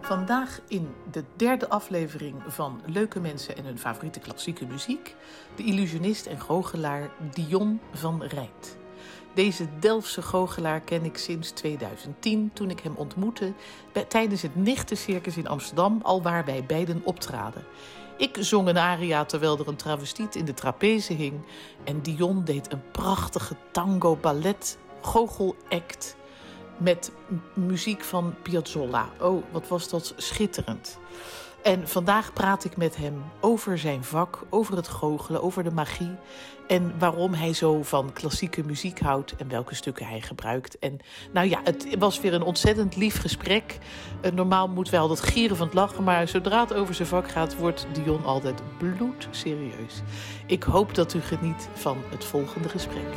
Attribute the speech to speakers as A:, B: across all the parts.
A: vandaag in de derde aflevering van Leuke Mensen en hun favoriete klassieke muziek de illusionist en goochelaar Dion van Rijt. Deze Delftse goochelaar ken ik sinds 2010 toen ik hem ontmoette bij- tijdens het Nichtencircus in Amsterdam, alwaar wij beiden optraden. Ik zong een aria terwijl er een travestiet in de trapeze hing en Dion deed een prachtige tango-ballet goochelact met m- muziek van Piazzolla. Oh, wat was dat schitterend. En vandaag praat ik met hem over zijn vak, over het goochelen, over de magie. En waarom hij zo van klassieke muziek houdt en welke stukken hij gebruikt. En nou ja, het was weer een ontzettend lief gesprek. Eh, Normaal moet wel dat gieren van het lachen, maar zodra het over zijn vak gaat, wordt Dion altijd bloedserieus. Ik hoop dat u geniet van het volgende gesprek.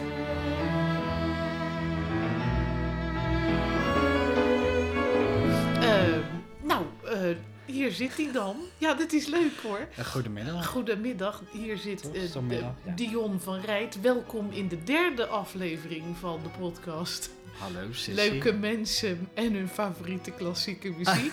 A: Eh, nou, eh, hier zit hij dan. Ja, dit is leuk hoor.
B: Ja, Eh, Goedemiddag.
A: Goedemiddag, hier zit eh,
B: Goedemiddag,
A: de-
B: ja.
A: Dion van Rijt. Welkom in de derde aflevering van de podcast.
B: Hallo Sissy.
A: Leuke mensen en hun favoriete klassieke muziek.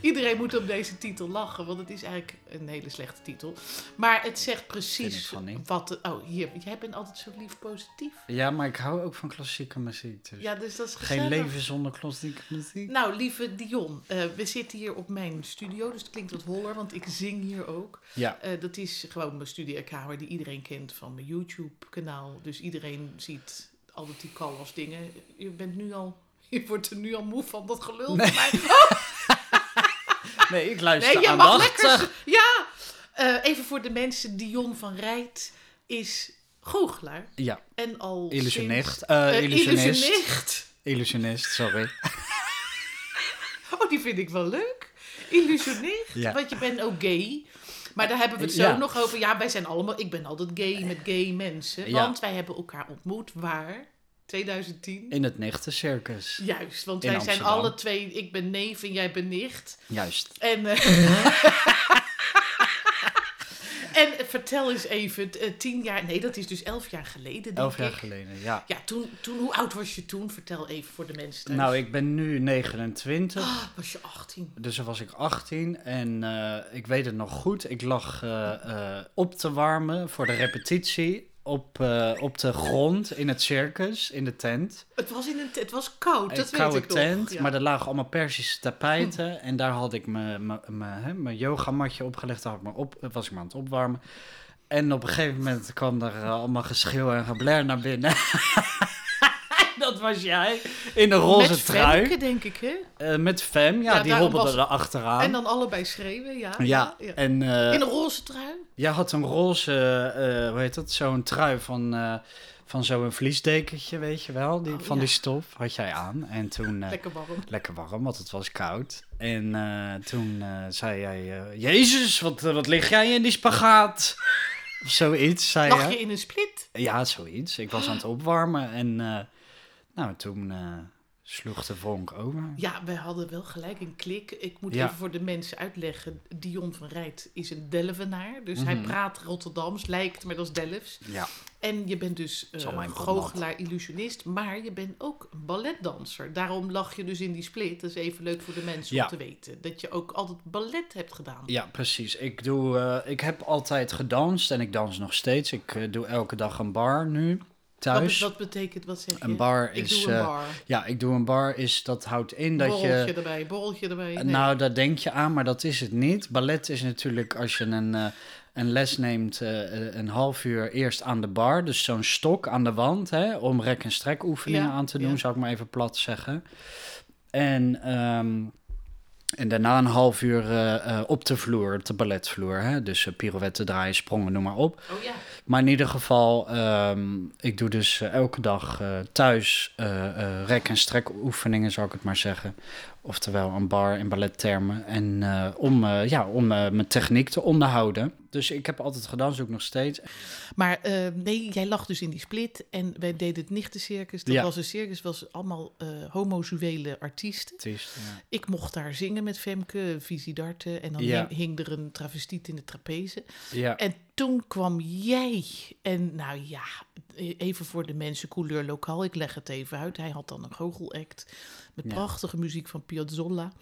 A: Iedereen moet op deze titel lachen, want het is eigenlijk een hele slechte titel. Maar het zegt
B: Vind ik
A: precies
B: van niet.
A: wat... Oh, hier, jij bent altijd zo lief positief.
B: Ja, maar ik hou ook van klassieke muziek. Dus
A: Ja, dus dat is gezellig.
B: geen leven zonder klassieke muziek.
A: Nou, lieve Dion, eh, we zitten hier op mijn studio, dus het klinkt wat holler, want ik zing hier ook.
B: Ja,
A: Eh, dat is gewoon mijn studiekamer die iedereen kent van mijn YouTube-kanaal. Dus iedereen ziet altijd die call-offs dingen. Je bent nu al... Je wordt er nu al moe van, dat gelul.
B: Nee.
A: Maar-
B: nee, ik
A: Nee,
B: luister
A: je mag
B: aandachtig.
A: lekker... z- Ja! Eh, even voor de mensen, Dion van Rijt is goochelaar.
B: Ja,
A: En al
B: illusionist.
A: sinds-
B: Eh,
A: Eh,
B: illusionist. illusionist.
A: illusionist.
B: sorry.
A: Oh, die vind ik wel leuk. Illusionist.
B: Ja.
A: Want je bent ook gay. Maar daar hebben we het zo
B: Ja.
A: nog over. Ja, wij zijn allemaal... Ik ben altijd gay met gay mensen.
B: Ja.
A: Want wij hebben elkaar ontmoet waar? 2010?
B: In het Nechtencircus.
A: Juist, want
B: In
A: wij zijn
B: Amsterdam.
A: alle twee... Ik ben neef en jij bent nicht.
B: Juist.
A: En... eh, En eh, vertel eens even, t- eh, tien jaar, nee, dat is dus elf jaar geleden. Denk
B: Elf jaar
A: ik.
B: geleden, ja.
A: Ja, toen, toen, hoe oud was je toen? Vertel even voor de mensen. thuis.
B: Nou, ik ben nu 29.
A: Ah, was je 18?
B: Dus dan was ik 18 en eh, ik weet het nog goed. Ik lag eh, eh, op te warmen voor de repetitie op, eh, op de grond in het circus, in de tent.
A: Het was, in een, t- het was koud, Oh, dat
B: een koude
A: weet ik
B: tent,
A: nog. Ja.
B: maar er lagen allemaal Persische tapijten. En daar had ik mijn- mijn- mijn hè, mijn yogamatje opgelegd, daar had ik me op, eh, was ik me aan het opwarmen. En op een gegeven moment kwam er eh, allemaal geschreeuw en gebler naar binnen. Dat was jij. In de roze
A: Met
B: trui.
A: Femke, denk ik, hè?
B: Eh, met Fem, ja,
A: Ja,
B: die
A: daarom
B: hobbelde
A: was-
B: er achteraan.
A: En dan allebei schreeuwen, Ah, ja.
B: ja, en eh,
A: In een roze trui?
B: jij had een roze, eh, hoe heet dat, zo'n trui van, eh, van zo'n vliesdekentje, weet je wel. Die,
A: Oh,
B: van
A: ja.
B: die stof had jij aan. En toen... eh,
A: Lekker warm.
B: lekker warm, want het was koud. En eh, toen eh, zei jij, eh, Jezus, wat, eh, wat lig jij in die spagaat? Of zoiets, zei
A: Lag je
B: je.
A: in een split?
B: Ja, zoiets. Ik was aan het opwarmen en eh, nou, toen eh, sloeg de vonk over.
A: Ja, wij hadden wel gelijk een klik. Ik moet
B: Ja.
A: even voor de mensen uitleggen. Dion van Rijt is een Delvenaar. Dus hij
B: Mhm.
A: praat Rotterdams, lijkt, maar dat is Delfts.
B: Ja,
A: En je bent dus
B: is al
A: eh
B: mijn
A: goochelaar, illusionist. Maar je bent ook een balletdanser. Daarom lag je dus in die split. Dat is even leuk voor de mensen
B: Ja.
A: om te weten. Dat je ook altijd ballet hebt gedaan.
B: ja precies. Ik, doe, eh, ik heb altijd gedanst en ik dans nog steeds. Ik eh, doe elke dag een bar nu,
A: Wat,
B: thuis.
A: bet- wat betekent, wat zeg je?
B: een bar
A: Ik
B: is...
A: doe een
B: eh,
A: bar.
B: ja, ik doe een bar is, dat houdt in dat
A: borreltje
B: je...
A: erbij, borreltje erbij. Nee.
B: Nou, daar denk je aan, maar dat is het niet. Ballet is natuurlijk als je een, eh, een les neemt, eh, eh, een half uur eerst aan de bar. Dus zo'n stok aan de wand, hè, om rek- en strek oefeningen
A: Ja,
B: aan te doen,
A: ja.
B: zou ik maar even plat zeggen. En, ehm, en daarna een half uur eh, eh, op de vloer, op de balletvloer. Hè? Dus eh, pirouetten draaien, sprongen, noem maar op.
A: Oh ja.
B: Maar in ieder geval, ehm, ik doe dus eh, elke dag eh, thuis eh, eh, rek- en strek oefeningen, zou ik het maar zeggen. Oftewel een bar in ballettermen. En eh, om, eh, ja, om eh, mijn techniek te onderhouden. Dus ik heb altijd gedanst, ook nog steeds.
A: Maar eh, nee, jij lag dus in die split en wij deden het nichtencircus. Dat
B: Ja.
A: was een circus, was allemaal eh homosuele artiesten.
B: Artiest, ja.
A: Ik mocht daar zingen met Femke, Visidarten en dan
B: Ja.
A: hing, hing er een travestiet in de trapeze.
B: Ja.
A: En toen kwam jij en nou ja, even voor de mensen, couleur lokaal, ik leg het even uit. Hij had dan een goochelact met
B: Ja.
A: prachtige muziek van Piazzolla.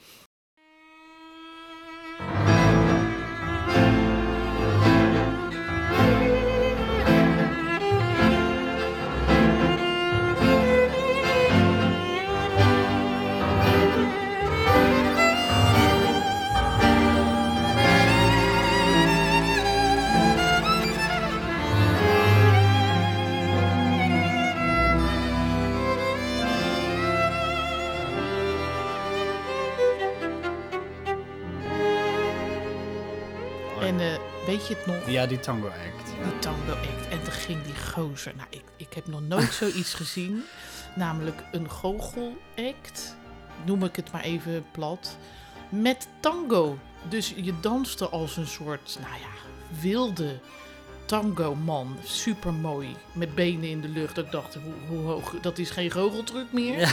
B: Oh,
A: En eh, weet je het nog?
B: Ja, die tango act.
A: Die tango act. En toen ging die gozer. Nou, ik, ik heb nog nooit zoiets gezien. Namelijk een goochelact. Noem ik het maar even plat. Met tango. Dus je danste als een soort, nou ja, wilde tango-man. Supermooi. Met benen in de lucht. Ik dacht, hoe, hoe hoog? Dat is geen goocheltruc meer.
B: Ja.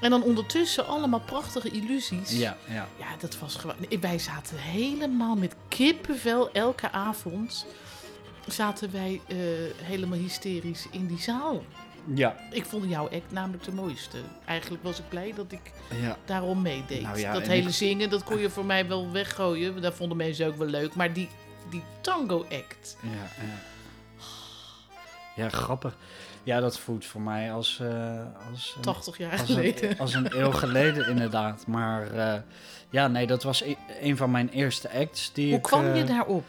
A: En dan ondertussen allemaal prachtige illusies.
B: Ja, ja.
A: Ja, dat was gewoon. nee, Wij zaten helemaal met kippenvel elke avond. Zaten wij eh, helemaal hysterisch in die zaal.
B: Ja.
A: Ik vond jouw act namelijk de mooiste. Eigenlijk was ik blij dat ik
B: ja.
A: daarom meedeed.
B: Nou ja,
A: dat
B: en
A: hele
B: ik-
A: zingen, dat kon je voor mij wel weggooien. Dat vonden mensen ook wel leuk. Maar die, die tango-act.
B: Ja, ja. Ja, grappig. Ja, dat voelt voor mij als, eh, als, een,
A: 80 jaar
B: als, een, e-
A: geleden.
B: als een eeuw geleden inderdaad. Maar eh, ja, nee, dat was e- een van mijn eerste acts. Die
A: Hoe
B: ik,
A: kwam je
B: eh,
A: daarop?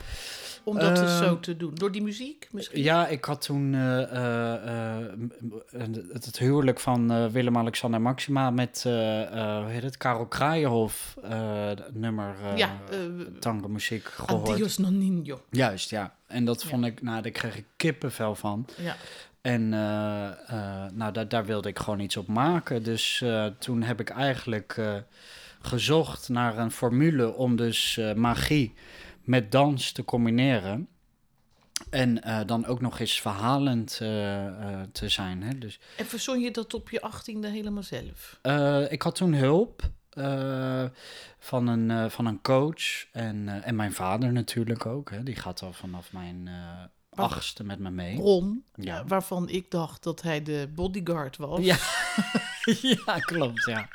A: Om dat dus
B: eh,
A: zo te doen? Door die muziek misschien?
B: Ja, ik had toen eh, eh, eh, m- m- het, het huwelijk van eh, Willem-Alexander en Maxima met, eh, eh, hoe heet het, Karel Kraaienhof eh, d- nummer eh
A: Ja, eh,
B: tango muziek gehoord.
A: Adios Nonino.
B: Juist, ja. En dat
A: Ja.
B: vond ik, nou, daar kreeg ik kippenvel van.
A: Ja.
B: En eh, eh, nou, daar, daar wilde ik gewoon iets op maken. Dus eh, toen heb ik eigenlijk eh, gezocht naar een formule om dus eh, magie met dans te combineren. En eh, dan ook nog eens verhalend eh, eh, te zijn. Hè? Dus,
A: En verzon je dat op je achttiende helemaal zelf?
B: eh, ik had toen hulp eh, van, een, eh, van een coach. En, eh, en mijn vader natuurlijk ook. Hè? Die gaat al vanaf mijn eh,
A: Wat-
B: achtste met me mee.
A: Ron,
B: Ja.
A: eh, waarvan ik dacht dat hij de bodyguard was.
B: Ja. ja, klopt, ja.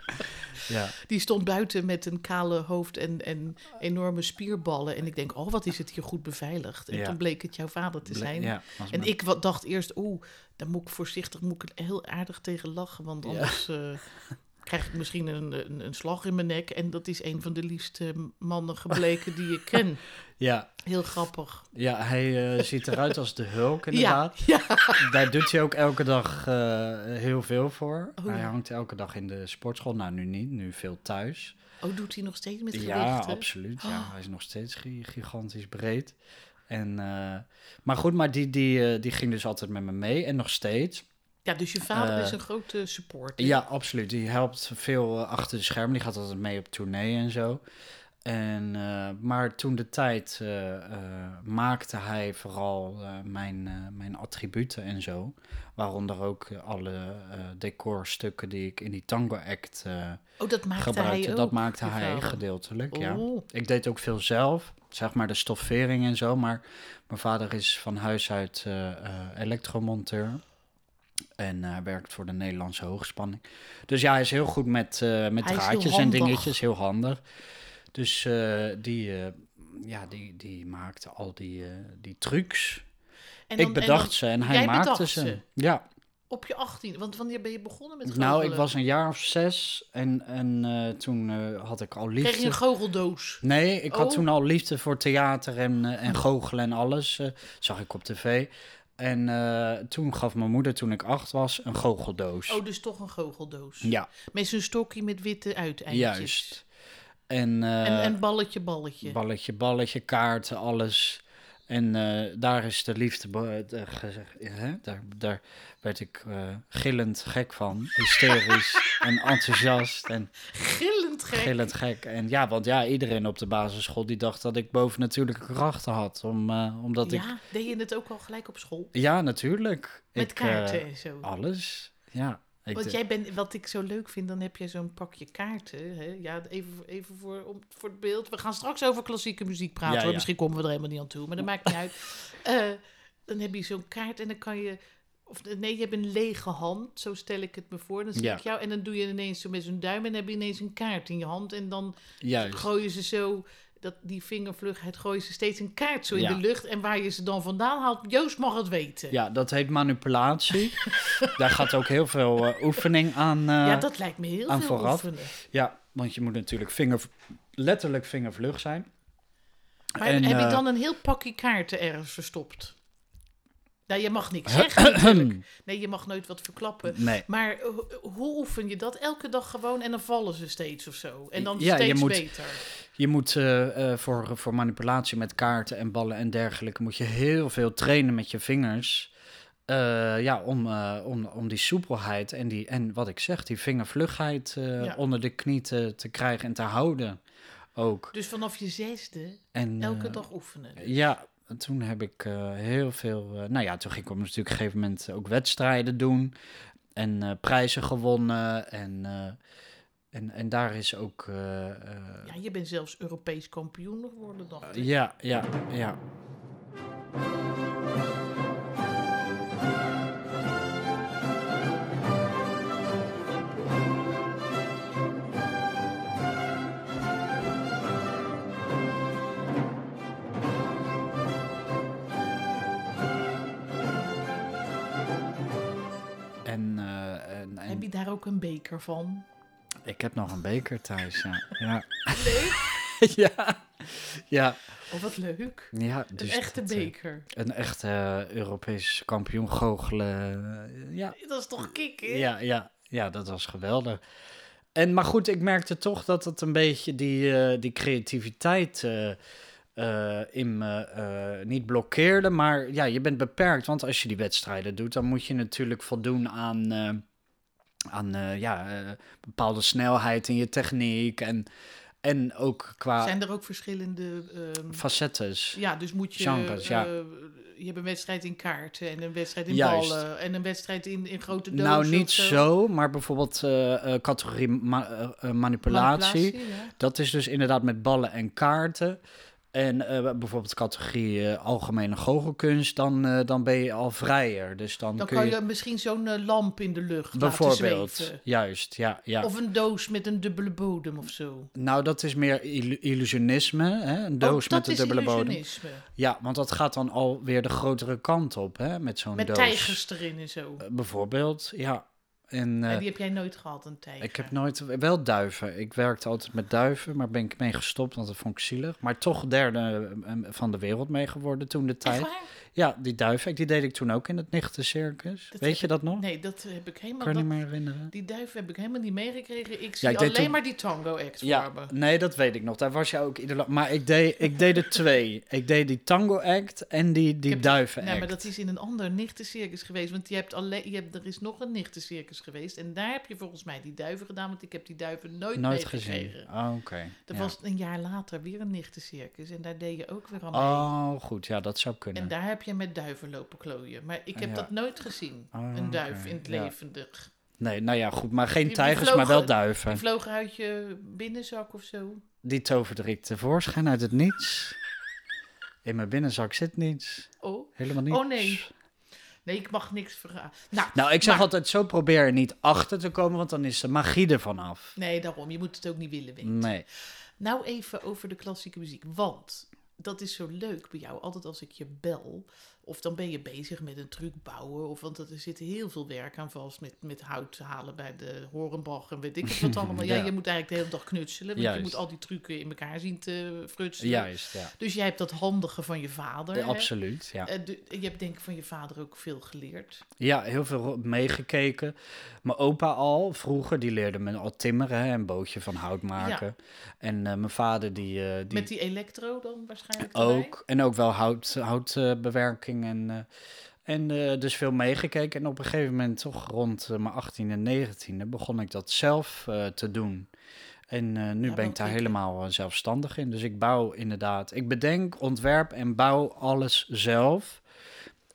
B: ja.
A: Die stond buiten met een kale hoofd en, en enorme spierballen. En ik denk, oh, wat is het hier goed beveiligd. En
B: Ja.
A: toen bleek het jouw vader te
B: Ble-
A: zijn.
B: Ja, was
A: En
B: mijn-
A: ik wa- dacht eerst, oeh, daar moet ik voorzichtig, moet ik er heel aardig tegen lachen. Want
B: Ja.
A: anders eh, krijg ik misschien een, een, een slag in mijn nek. En dat is een van de liefste mannen gebleken die ik ken.
B: ja,
A: Heel grappig.
B: ja, hij eh, ziet eruit als de Hulk inderdaad.
A: Ja, ja.
B: Daar doet hij ook elke dag eh, heel veel voor.
A: Oh.
B: Hij hangt elke dag in de sportschool. Nou, nu niet. Nu veel thuis.
A: Oh, doet hij nog steeds met
B: Ja,
A: gewichten?
B: absoluut. Ja.
A: Oh.
B: Hij is nog steeds gi- gigantisch breed. En, eh, maar goed, maar die, die, eh, die ging dus altijd met me mee. En nog steeds.
A: Ja, dus je vader
B: Eh,
A: is een grote support.
B: Ja, absoluut. Die helpt veel eh, achter de schermen. Die gaat altijd mee op tournee en zo. En, eh, maar toen de tijd eh, eh, maakte hij vooral eh, mijn, eh, mijn attributen en zo. Waaronder ook eh, alle eh, decorstukken die ik in die tango act eh,
A: Oh, dat maakte
B: gebruikte.
A: hij ook.
B: Dat maakte
A: je
B: hij
A: vader?
B: gedeeltelijk, ja.
A: Oh.
B: Ik deed ook veel zelf, zeg maar de stoffering en zo. Maar mijn vader is van huis uit eh, eh, elektromonteur. En eh, hij werkt voor de Nederlandse hoogspanning. Dus ja, hij is heel goed met, eh, met
A: Hij is heel
B: draadjes en
A: handig.
B: dingetjes, heel handig. Dus eh, die, eh, ja, die, die maakte al die, eh, die trucs.
A: En
B: ik
A: en
B: bedacht ze en hij
A: jij
B: maakte
A: bedacht
B: ze.
A: ze?
B: Ja,
A: op je 18, want wanneer ben je begonnen met goochelen?
B: nou, ik was een jaar of zes en, en eh, toen eh, had ik al liefde.
A: Kreeg je een goocheldoos?
B: Nee, ik
A: Oh.
B: had toen al liefde voor theater en, eh, en goochelen en alles. eh, zag ik op tv. En eh, toen gaf mijn moeder, toen ik acht was, een goocheldoos.
A: Oh, dus toch een goocheldoos.
B: ja,
A: Met zo'n stokje met witte uiteindjes.
B: juist. En, eh,
A: En, en balletje, balletje.
B: balletje, balletje, kaarten, alles. En eh, daar is de liefde, be- eh, gezegd, hè? Daar, daar werd ik eh, gillend gek van. Hysterisch en enthousiast en
A: Gillend gek.
B: Gillend gek. En ja, want ja, iedereen op de basisschool die dacht dat ik bovennatuurlijke krachten had. Om, eh, omdat ik...
A: ja, deed je het ook al gelijk op school?
B: Ja, natuurlijk.
A: Met
B: Ik, eh,
A: kaarten en zo.
B: alles. Ja. Ik
A: Want
B: d-
A: jij bent, wat ik zo leuk vind, dan heb jij zo'n pakje kaarten. Hè? Ja, even, even voor, om, voor het beeld. We gaan straks over klassieke muziek praten.
B: Ja,
A: hoor.
B: ja.
A: Misschien komen we er helemaal niet aan toe, maar dat maakt niet uit. Eh, dan heb je zo'n kaart en dan kan je... Of nee, je hebt een lege hand, zo stel ik het me voor. Dan zie
B: Ja.
A: ik jou en dan doe je ineens zo met zo'n duim en dan heb je ineens een kaart in je hand. En dan
B: Juist.
A: gooi je ze zo... dat die vingervlugheid gooien ze steeds een kaart zo in
B: Ja.
A: de lucht. En waar je ze dan vandaan haalt, Joost mag het weten.
B: Ja, dat heet manipulatie. Daar gaat ook heel veel eh, oefening aan. eh,
A: Ja, dat lijkt me heel
B: aan
A: veel
B: vooraf.
A: oefenen.
B: ja, want je moet natuurlijk vinger, letterlijk vingervlug zijn.
A: Maar
B: En,
A: heb je
B: eh,
A: dan een heel pakje kaarten ergens verstopt? Nou, je mag niks zeggen natuurlijk. Nee, je mag nooit wat verklappen.
B: Nee.
A: Maar eh, ho- hoe oefen je dat? Elke dag gewoon en dan vallen ze steeds of zo. En dan
B: Ja, je
A: steeds
B: moet-
A: beter.
B: Je moet eh, eh, voor, voor manipulatie met kaarten en ballen en dergelijke... moet je heel veel trainen met je vingers... eh, ja, om, eh, om, om die soepelheid en, die, en wat ik zeg, die vingervlugheid eh,
A: Ja.
B: onder de knie te, te krijgen en te houden ook.
A: Dus vanaf je zesde
B: En,
A: elke
B: eh,
A: dag oefenen.
B: Ja, toen heb ik eh, heel veel... eh, nou ja, toen ging ik op natuurlijk op een gegeven moment ook wedstrijden doen. En eh, prijzen gewonnen. En, eh, en, en daar is ook... eh, eh,
A: Ja, je bent zelfs Europees kampioen geworden dan.
B: ja, ja, ja. En, eh, en, en
A: Heb je daar ook een beker van?
B: ik heb nog een beker thuis, ja. ja. ja. Ja.
A: Oh, wat leuk.
B: Ja,
A: Een
B: dus
A: echte
B: dat, eh,
A: beker.
B: Een echte eh, Europees kampioen goochelen. eh, ja.
A: Dat is toch kick, hè?
B: Ja, ja, ja, dat was geweldig. En, maar goed, ik merkte toch dat het een beetje die, eh, die creativiteit eh, eh, in me eh, niet blokkeerde. Maar ja, je bent beperkt, want als je die wedstrijden doet, dan moet je natuurlijk voldoen aan, eh, aan eh, ja, eh, bepaalde snelheid in je techniek. En, en ook qua
A: Zijn er ook verschillende... ehm,
B: facettes.
A: Ja, dus moet je.
B: Genres, ja.
A: eh, je hebt een wedstrijd in kaarten en een wedstrijd in
B: Juist.
A: ballen en een wedstrijd in, in grote dozen.
B: Nou,
A: of
B: niet zo, maar bijvoorbeeld eh, eh, categorie ma- eh, eh, manipulatie.
A: ja.
B: Dat is dus inderdaad met ballen en kaarten. En eh, bijvoorbeeld categorie eh, algemene goochelkunst, dan, eh, dan ben je al vrijer. Dus dan,
A: Dan
B: kun
A: kan je, misschien zo'n eh, lamp in de lucht laten
B: bijvoorbeeld,
A: zweven.
B: juist, ja, ja.
A: Of een doos met een dubbele bodem of zo.
B: Nou, dat is meer illu- illusionisme, hè? een
A: Oh,
B: doos
A: dat
B: met de
A: is
B: dubbele bodem.
A: illusionisme.
B: Ja, want dat gaat dan alweer de grotere kant op, hè, met zo'n
A: Met
B: doos.
A: tijgers erin en zo.
B: Eh, bijvoorbeeld, ja. En, eh,
A: en die heb jij nooit gehad, een tijger.
B: Ik heb nooit, wel duiven. Ik werkte altijd met duiven, maar ben ik mee gestopt, want dat vond ik zielig. Maar toch derde eh, van de wereld mee geworden toen de
A: Echt
B: tijd.
A: waar?
B: Ja, die duiven, die deed ik toen ook in het Nichtencircus.
A: Dat
B: Weet
A: heb
B: je dat nog?
A: Nee, dat heb ik helemaal
B: kan je
A: dat-
B: niet meer herinneren.
A: Die duif heb ik helemaal niet meegekregen. Ik
B: Ja,
A: zie
B: ik deed
A: alleen
B: toen-
A: maar die tango act
B: Ja,
A: voor me.
B: nee, dat weet ik nog. Daar was je ook ieder la- Maar ik deed, ik deed er twee. Ik deed die tango act en die, die
A: heb-
B: duiven
A: Nee,
B: act.
A: Nou, maar dat is in een ander nichtencircus geweest. Want je hebt alleen, je hebt, er is nog een nichtencircus geweest. En daar heb je volgens mij die duiven gedaan. Want ik heb die duiven nooit,
B: Nooit
A: meegekregen.
B: gezien. Oh, Oké.
A: Er
B: ja.
A: was een jaar later weer een nichtencircus. En daar deed je ook weer aan mee.
B: Oh, goed. Ja, dat zou
A: En
B: kunnen.
A: daar heb je met duiven lopen klooien. Maar ik heb
B: Ja.
A: dat nooit gezien.
B: Oh,
A: een duif
B: oké,
A: in het
B: ja.
A: levendig.
B: Nee, nou ja, goed. Maar geen
A: Die- die
B: tijgers, maar
A: vlogen-
B: wel
A: Die
B: duiven.
A: vloog uit je binnenzak of zo.
B: Die toverde ik tevoorschijn uit het niets. In mijn binnenzak zit niets.
A: Oh,
B: Helemaal niets.
A: Oh, nee. nee, ik mag niks vergaan. Nou,
B: Nou, ik zeg
A: Maar-
B: altijd, zo probeer er niet achter te komen, want dan is de magie ervan af.
A: nee, daarom. Je moet het ook niet willen weten.
B: Nee.
A: Nou even over de klassieke muziek, want dat is zo leuk bij jou. Altijd als ik je bel, of dan ben je bezig met een truc bouwen, of want er zit heel veel werk aan vast met, met hout halen bij de Horenbach en weet ik het wat allemaal. Ja.
B: Ja.
A: je moet eigenlijk de hele dag knutselen, want
B: Juist.
A: je moet al die trucken in elkaar zien te frutselen.
B: Juist, ja.
A: Dus jij hebt dat handige van je vader.
B: Ja,
A: hè?
B: Absoluut, ja.
A: Eh, de- je hebt denk ik van je vader ook veel geleerd.
B: Ja, heel veel ro- meegekeken. Mijn opa al, vroeger, die leerde me al timmeren hè, en bootje van hout maken. En eh, mijn vader, die... eh, die
A: Met die elektro dan waarschijnlijk erbij?
B: ook, en ook wel hout, houtbewerking en... eh, en eh, dus veel meegekeken. En op een gegeven moment, toch rond eh, mijn 18 en 19 begon ik dat zelf eh, te doen. En eh, nu
A: Ja,
B: ben
A: wel
B: ik daar
A: ik-
B: helemaal eh, zelfstandig in. Dus ik bouw inderdaad. Ik bedenk, ontwerp en bouw alles zelf.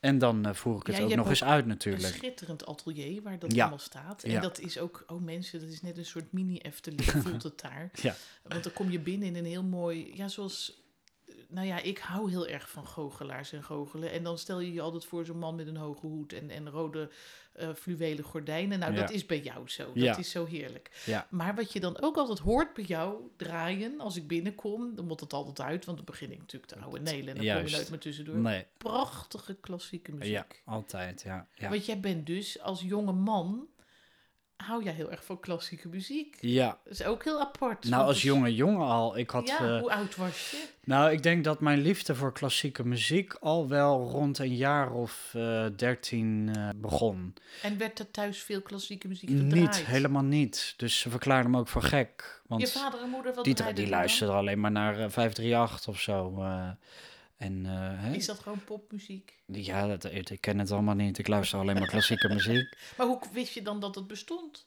B: En dan eh, voer ik het
A: Ja, je
B: ook
A: hebt
B: nog eens
A: ook
B: uit,
A: Een
B: natuurlijk.
A: schitterend atelier waar dat
B: Ja.
A: allemaal staat. En
B: Ja.
A: dat is ook, oh mensen, dat is net een soort mini-Efteling, voelt het daar.
B: Ja.
A: Want dan kom je binnen in een heel mooi, ja, zoals eh, nou ja, ik hou heel erg van goochelaars en goochelen. En dan stel je je altijd voor zo'n man met een hoge hoed en, en rode eh fluwelen gordijnen. Nou,
B: Ja.
A: dat is bij jou zo. Dat
B: Ja.
A: is zo heerlijk.
B: Ja.
A: Maar wat je dan ook altijd hoort bij jou draaien als ik binnenkom, dan moet dat altijd uit, want dan begin ik natuurlijk te oude nelen. En dan kom
B: Juist.
A: je nooit meer tussendoor.
B: Nee,
A: Prachtige klassieke muziek.
B: ja, altijd, ja. Ja,
A: Want jij bent dus als jonge man, hou jij heel erg van klassieke muziek.
B: ja.
A: Dat is ook heel apart.
B: nou
A: want
B: als
A: als-
B: jonge jongen al. Ik had,
A: ja,
B: eh,
A: hoe oud was je?
B: nou, ik denk dat mijn liefde voor klassieke muziek al wel rond een jaar of eh, dertien eh, begon.
A: En werd er thuis veel klassieke muziek gedraaid?
B: Niet, helemaal niet. Dus ze verklaarden me ook voor gek. Want
A: Je vader en moeder, wat
B: die,
A: draaiden
B: die
A: er dan?
B: luisteren alleen maar naar eh, 538 of zo. eh. en, eh, hè?
A: Is dat gewoon popmuziek?
B: Ja, dat, ik ik ken het allemaal niet. Ik luister alleen maar klassieke muziek.
A: Maar hoe wist je dan dat het bestond?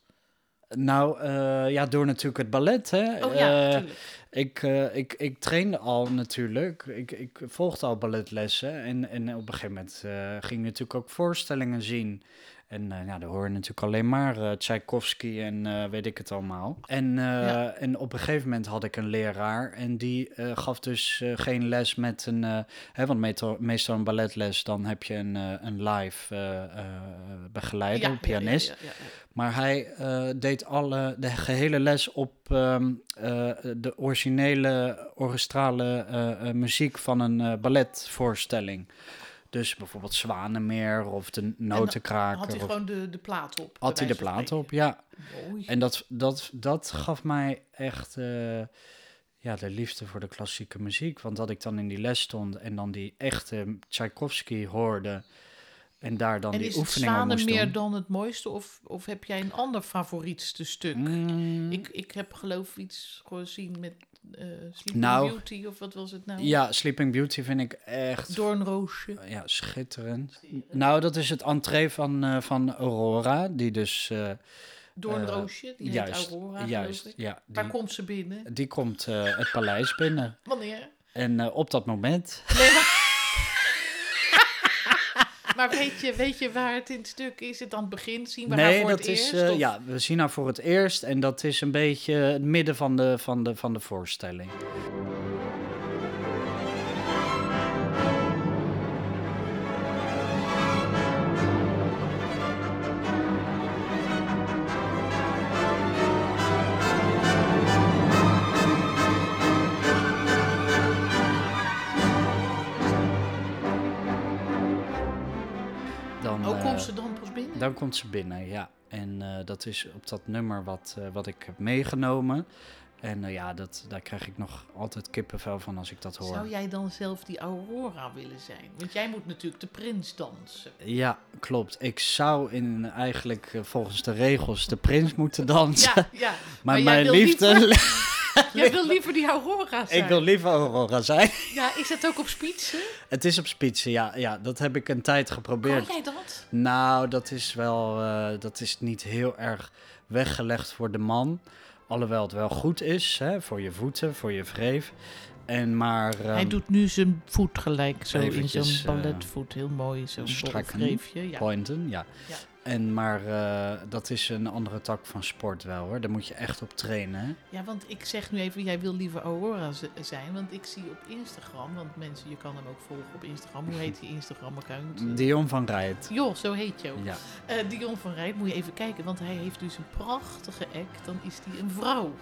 B: Nou, eh, ja, door natuurlijk het ballet, hè.
A: Oh ja,
B: Eh,
A: natuurlijk.
B: ik, eh, ik, ik trainde al natuurlijk. Ik, ik volgde al balletlessen. En, en op een gegeven moment eh, ging ik natuurlijk ook voorstellingen zien. En eh, ja, daar hoor je natuurlijk alleen maar eh, Tchaikovsky en eh, weet ik het allemaal. En, eh,
A: Ja.
B: en op een gegeven moment had ik een leraar. En die eh, gaf dus eh, geen les met een... eh, hè, want meto- meestal een balletles, dan heb je een, eh, een live eh, eh, begeleider, een pianist.
A: Ja, ja, ja, ja.
B: Maar hij eh, deed alle, de gehele les op ehm, eh, de originele orchestrale eh, eh, muziek van een eh, balletvoorstelling. Dus bijvoorbeeld Zwanenmeer of de Notenkraker.
A: Had hij
B: of-
A: gewoon de, de plaat op?
B: had hij de plaat op, ja.
A: Mooi.
B: En dat, dat, dat gaf mij echt eh, ja, de liefde voor de klassieke muziek. Want dat ik dan in die les stond en dan die echte Tchaikovsky hoorde. En daar dan
A: En
B: die
A: is het
B: oefeningen moest
A: meer
B: doen.
A: dan het mooiste? Of, of heb jij een ander favorietste stuk?
B: Mm.
A: Ik, ik heb geloof iets gezien met eh Sleeping
B: Nou,
A: Beauty of wat was het nou?
B: Ja, Eh, Sleeping Beauty vind ik echt
A: Doornroosje.
B: ja, schitterend. Nou, dat is het entree van, eh, van Aurora, die dus... eh,
A: Doornroosje, die
B: juist,
A: heet Aurora geloof
B: juist,
A: ik.
B: ja. Die,
A: Waar komt ze binnen?
B: die komt eh, het paleis binnen.
A: Wanneer?
B: En eh, op dat moment...
A: Maar weet je, weet je waar het in het stuk is? Het aan het begin zien we haar
B: nee,
A: voor
B: dat
A: het
B: is...
A: eerst?
B: eh,
A: of-
B: ja, we zien haar voor het eerst en dat is een beetje het midden van de, van de, van de voorstelling. Dan,
A: Ook Oh, komt
B: eh,
A: ze dan pas binnen?
B: dan komt ze binnen, ja. En eh, dat is op dat nummer wat, eh, wat ik heb meegenomen. En eh, ja, dat, daar krijg ik nog altijd kippenvel van als ik dat hoor.
A: Zou jij dan zelf die Aurora willen zijn? Want jij moet natuurlijk de prins dansen.
B: Ja, klopt. Ik zou in, eigenlijk eh, volgens de regels de prins moeten dansen.
A: Ja, ja. Maar,
B: maar
A: jij
B: mijn
A: wil
B: liefde...
A: liever- jij wil liever die Aurora zijn.
B: ik wil liever Aurora zijn.
A: Ja, is dat ook op spitsen?
B: Het is op spitsen, ja, ja. Dat heb ik een tijd
A: Kan
B: geprobeerd.
A: jij dat?
B: Nou, dat is wel. eh, dat is niet heel erg weggelegd voor de man. Alhoewel het wel goed is hè, voor je voeten, voor je wreef. En maar. ehm,
A: Hij doet nu zijn voet gelijk, zo in
B: eventjes,
A: zo'n balletvoet. Heel mooi, zo'n
B: strakken.
A: bolgreepje. Ja.
B: Pointen, ja.
A: Ja.
B: En maar eh, dat is een andere tak van sport wel hoor. Daar moet je echt op trainen. hè.
A: ja, want ik zeg nu even, jij wil liever Aurora z- zijn. Want ik zie op Instagram, want mensen, je kan hem ook volgen op Instagram. Hoe heet die Instagram-account?
B: Dion van Rijt.
A: Joh, zo heet je ook.
B: Ja.
A: Eh, Dion van Rijt, moet je even kijken, want hij heeft dus een prachtige act. Dan is hij een vrouw.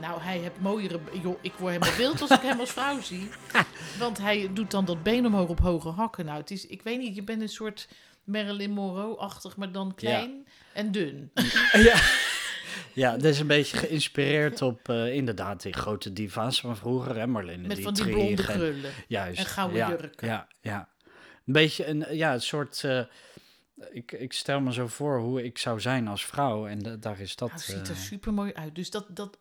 A: Nou, hij heeft mooiere... Joh, ik word helemaal wild als ik hem als vrouw zie. Want hij doet dan dat been omhoog op hoge hakken. Nou, het is... Ik weet niet, je bent een soort Marilyn Monroe-achtig, maar dan klein en dun.
B: ja. Ja, dat is een beetje geïnspireerd op eh, inderdaad die grote diva's van vroeger. Hè, Marlene
A: Met van die
B: Dietrich
A: blonde
B: en-
A: krullen.
B: Juist.
A: En gouden
B: ja,
A: jurken.
B: Ja, ja. Een beetje een, ja, een soort... eh, ik, ik stel me zo voor hoe ik zou zijn als vrouw. En da- daar is dat...
A: Hij Nou, ziet er
B: eh,
A: super mooi uit. Dus dat, dat,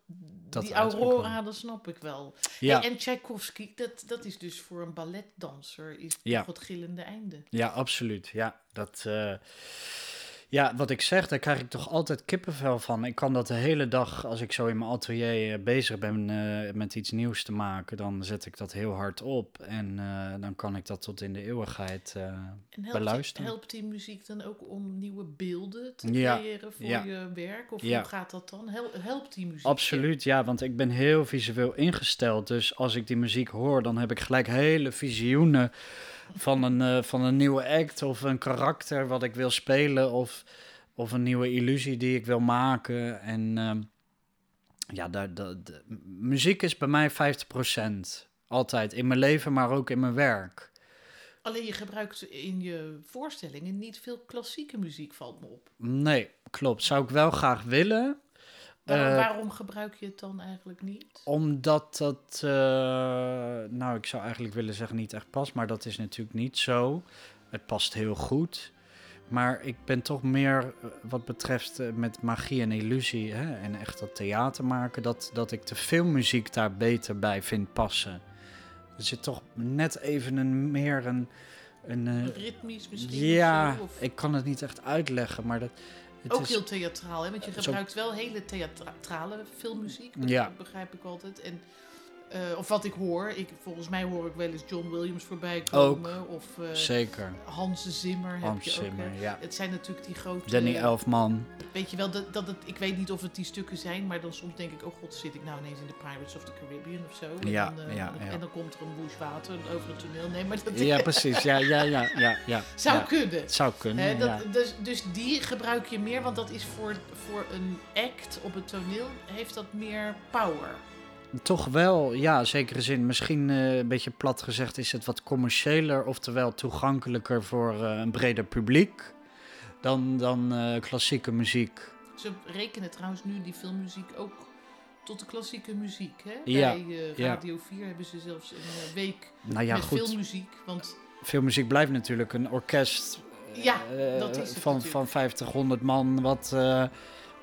B: Dat
A: die
B: uitdrukking.
A: Aurora, dat snap ik wel.
B: ja,
A: Hey, en Tchaikovsky, dat, dat is dus voor een balletdanser is
B: Ja.
A: toch het gillende einde.
B: ja, absoluut. Ja, dat... eh, Ja, wat ik zeg, daar krijg ik toch altijd kippenvel van. Ik kan dat de hele dag, als ik zo in mijn atelier eh, bezig ben eh, met iets nieuws te maken, dan zet ik dat heel hard op. En eh, dan kan ik dat tot in de eeuwigheid. eh,
A: En helpt, die,
B: Beluisteren.
A: helpt die muziek dan ook om nieuwe beelden te
B: Ja,
A: creëren voor
B: ja.
A: je werk? Of
B: Ja.
A: hoe gaat dat dan? Hel- helpt die muziek?
B: Absoluut, ja, want ik ben heel visueel ingesteld. Dus als ik die muziek hoor, dan heb ik gelijk hele visioenen van een, eh, van een nieuwe act of een karakter wat ik wil spelen of, of een nieuwe illusie die ik wil maken. En ehm, ja, daar, daar- de- muziek is bij mij 50%. Altijd, in mijn leven, maar ook in mijn werk.
A: Alleen je gebruikt in je voorstellingen niet veel klassieke muziek, valt me op.
B: Nee, klopt. Zou ik wel graag willen,
A: Waarom,
B: Eh,
A: waarom gebruik je het dan eigenlijk niet?
B: Omdat dat, eh, nou ik zou eigenlijk willen zeggen niet echt past, maar dat is natuurlijk niet zo. Het past heel goed. Maar ik ben toch meer eh, wat betreft eh, met magie en illusie hè, en echt dat theater maken, dat, dat ik de filmmuziek daar beter bij vind passen. Er zit toch net even een meer een. een eh,
A: Ritmisch misschien?
B: ja,
A: of zo, of-
B: ik kan het niet echt uitleggen, maar dat. Het
A: ook
B: is, eh,
A: heel theatraal, hè? want je
B: Zo-
A: gebruikt wel hele theatrale filmmuziek, dat
B: Ja.
A: begrijp ik altijd. En, eh, of wat ik hoor, ik, volgens mij hoor ik wel eens John Williams voorbij
B: Ook.
A: komen. Of eh,
B: Zeker.
A: Hans Zimmer heb
B: Hans
A: je ook. eh, hè.
B: Zimmer, ja.
A: Het zijn natuurlijk die grote...
B: Danny Elfman.
A: Weet je wel, dat, dat het, ik weet niet of het die stukken zijn, maar dan soms denk ik, oh god, zit ik nou ineens in de Pirates of the Caribbean of zo?
B: Ja,
A: en, dan, eh,
B: ja, ja.
A: en dan komt er een woes water over het toneel. Nee, maar dat
B: Ja, precies. Ja, ja, ja, ja. ja
A: zou
B: ja.
A: kunnen.
B: Het zou kunnen,
A: Hè, dat,
B: ja.
A: dus, dus die gebruik je meer, want dat is voor, voor een act op het toneel, heeft dat meer power.
B: Toch wel, ja, in zekere zin. Misschien eh, een beetje plat gezegd is het wat commerciëler, oftewel toegankelijker voor eh, een breder publiek dan, dan eh, klassieke muziek.
A: Ze rekenen trouwens nu die filmmuziek ook tot de klassieke muziek. Hè?
B: Ja,
A: Bij eh,
B: ja.
A: Radio 4 hebben ze zelfs een eh, week
B: Nou ja,
A: met
B: goed.
A: filmmuziek, want
B: Filmmuziek blijft natuurlijk een orkest eh,
A: Ja, dat is het
B: van,
A: natuurlijk.
B: van 50, 100 man wat, eh,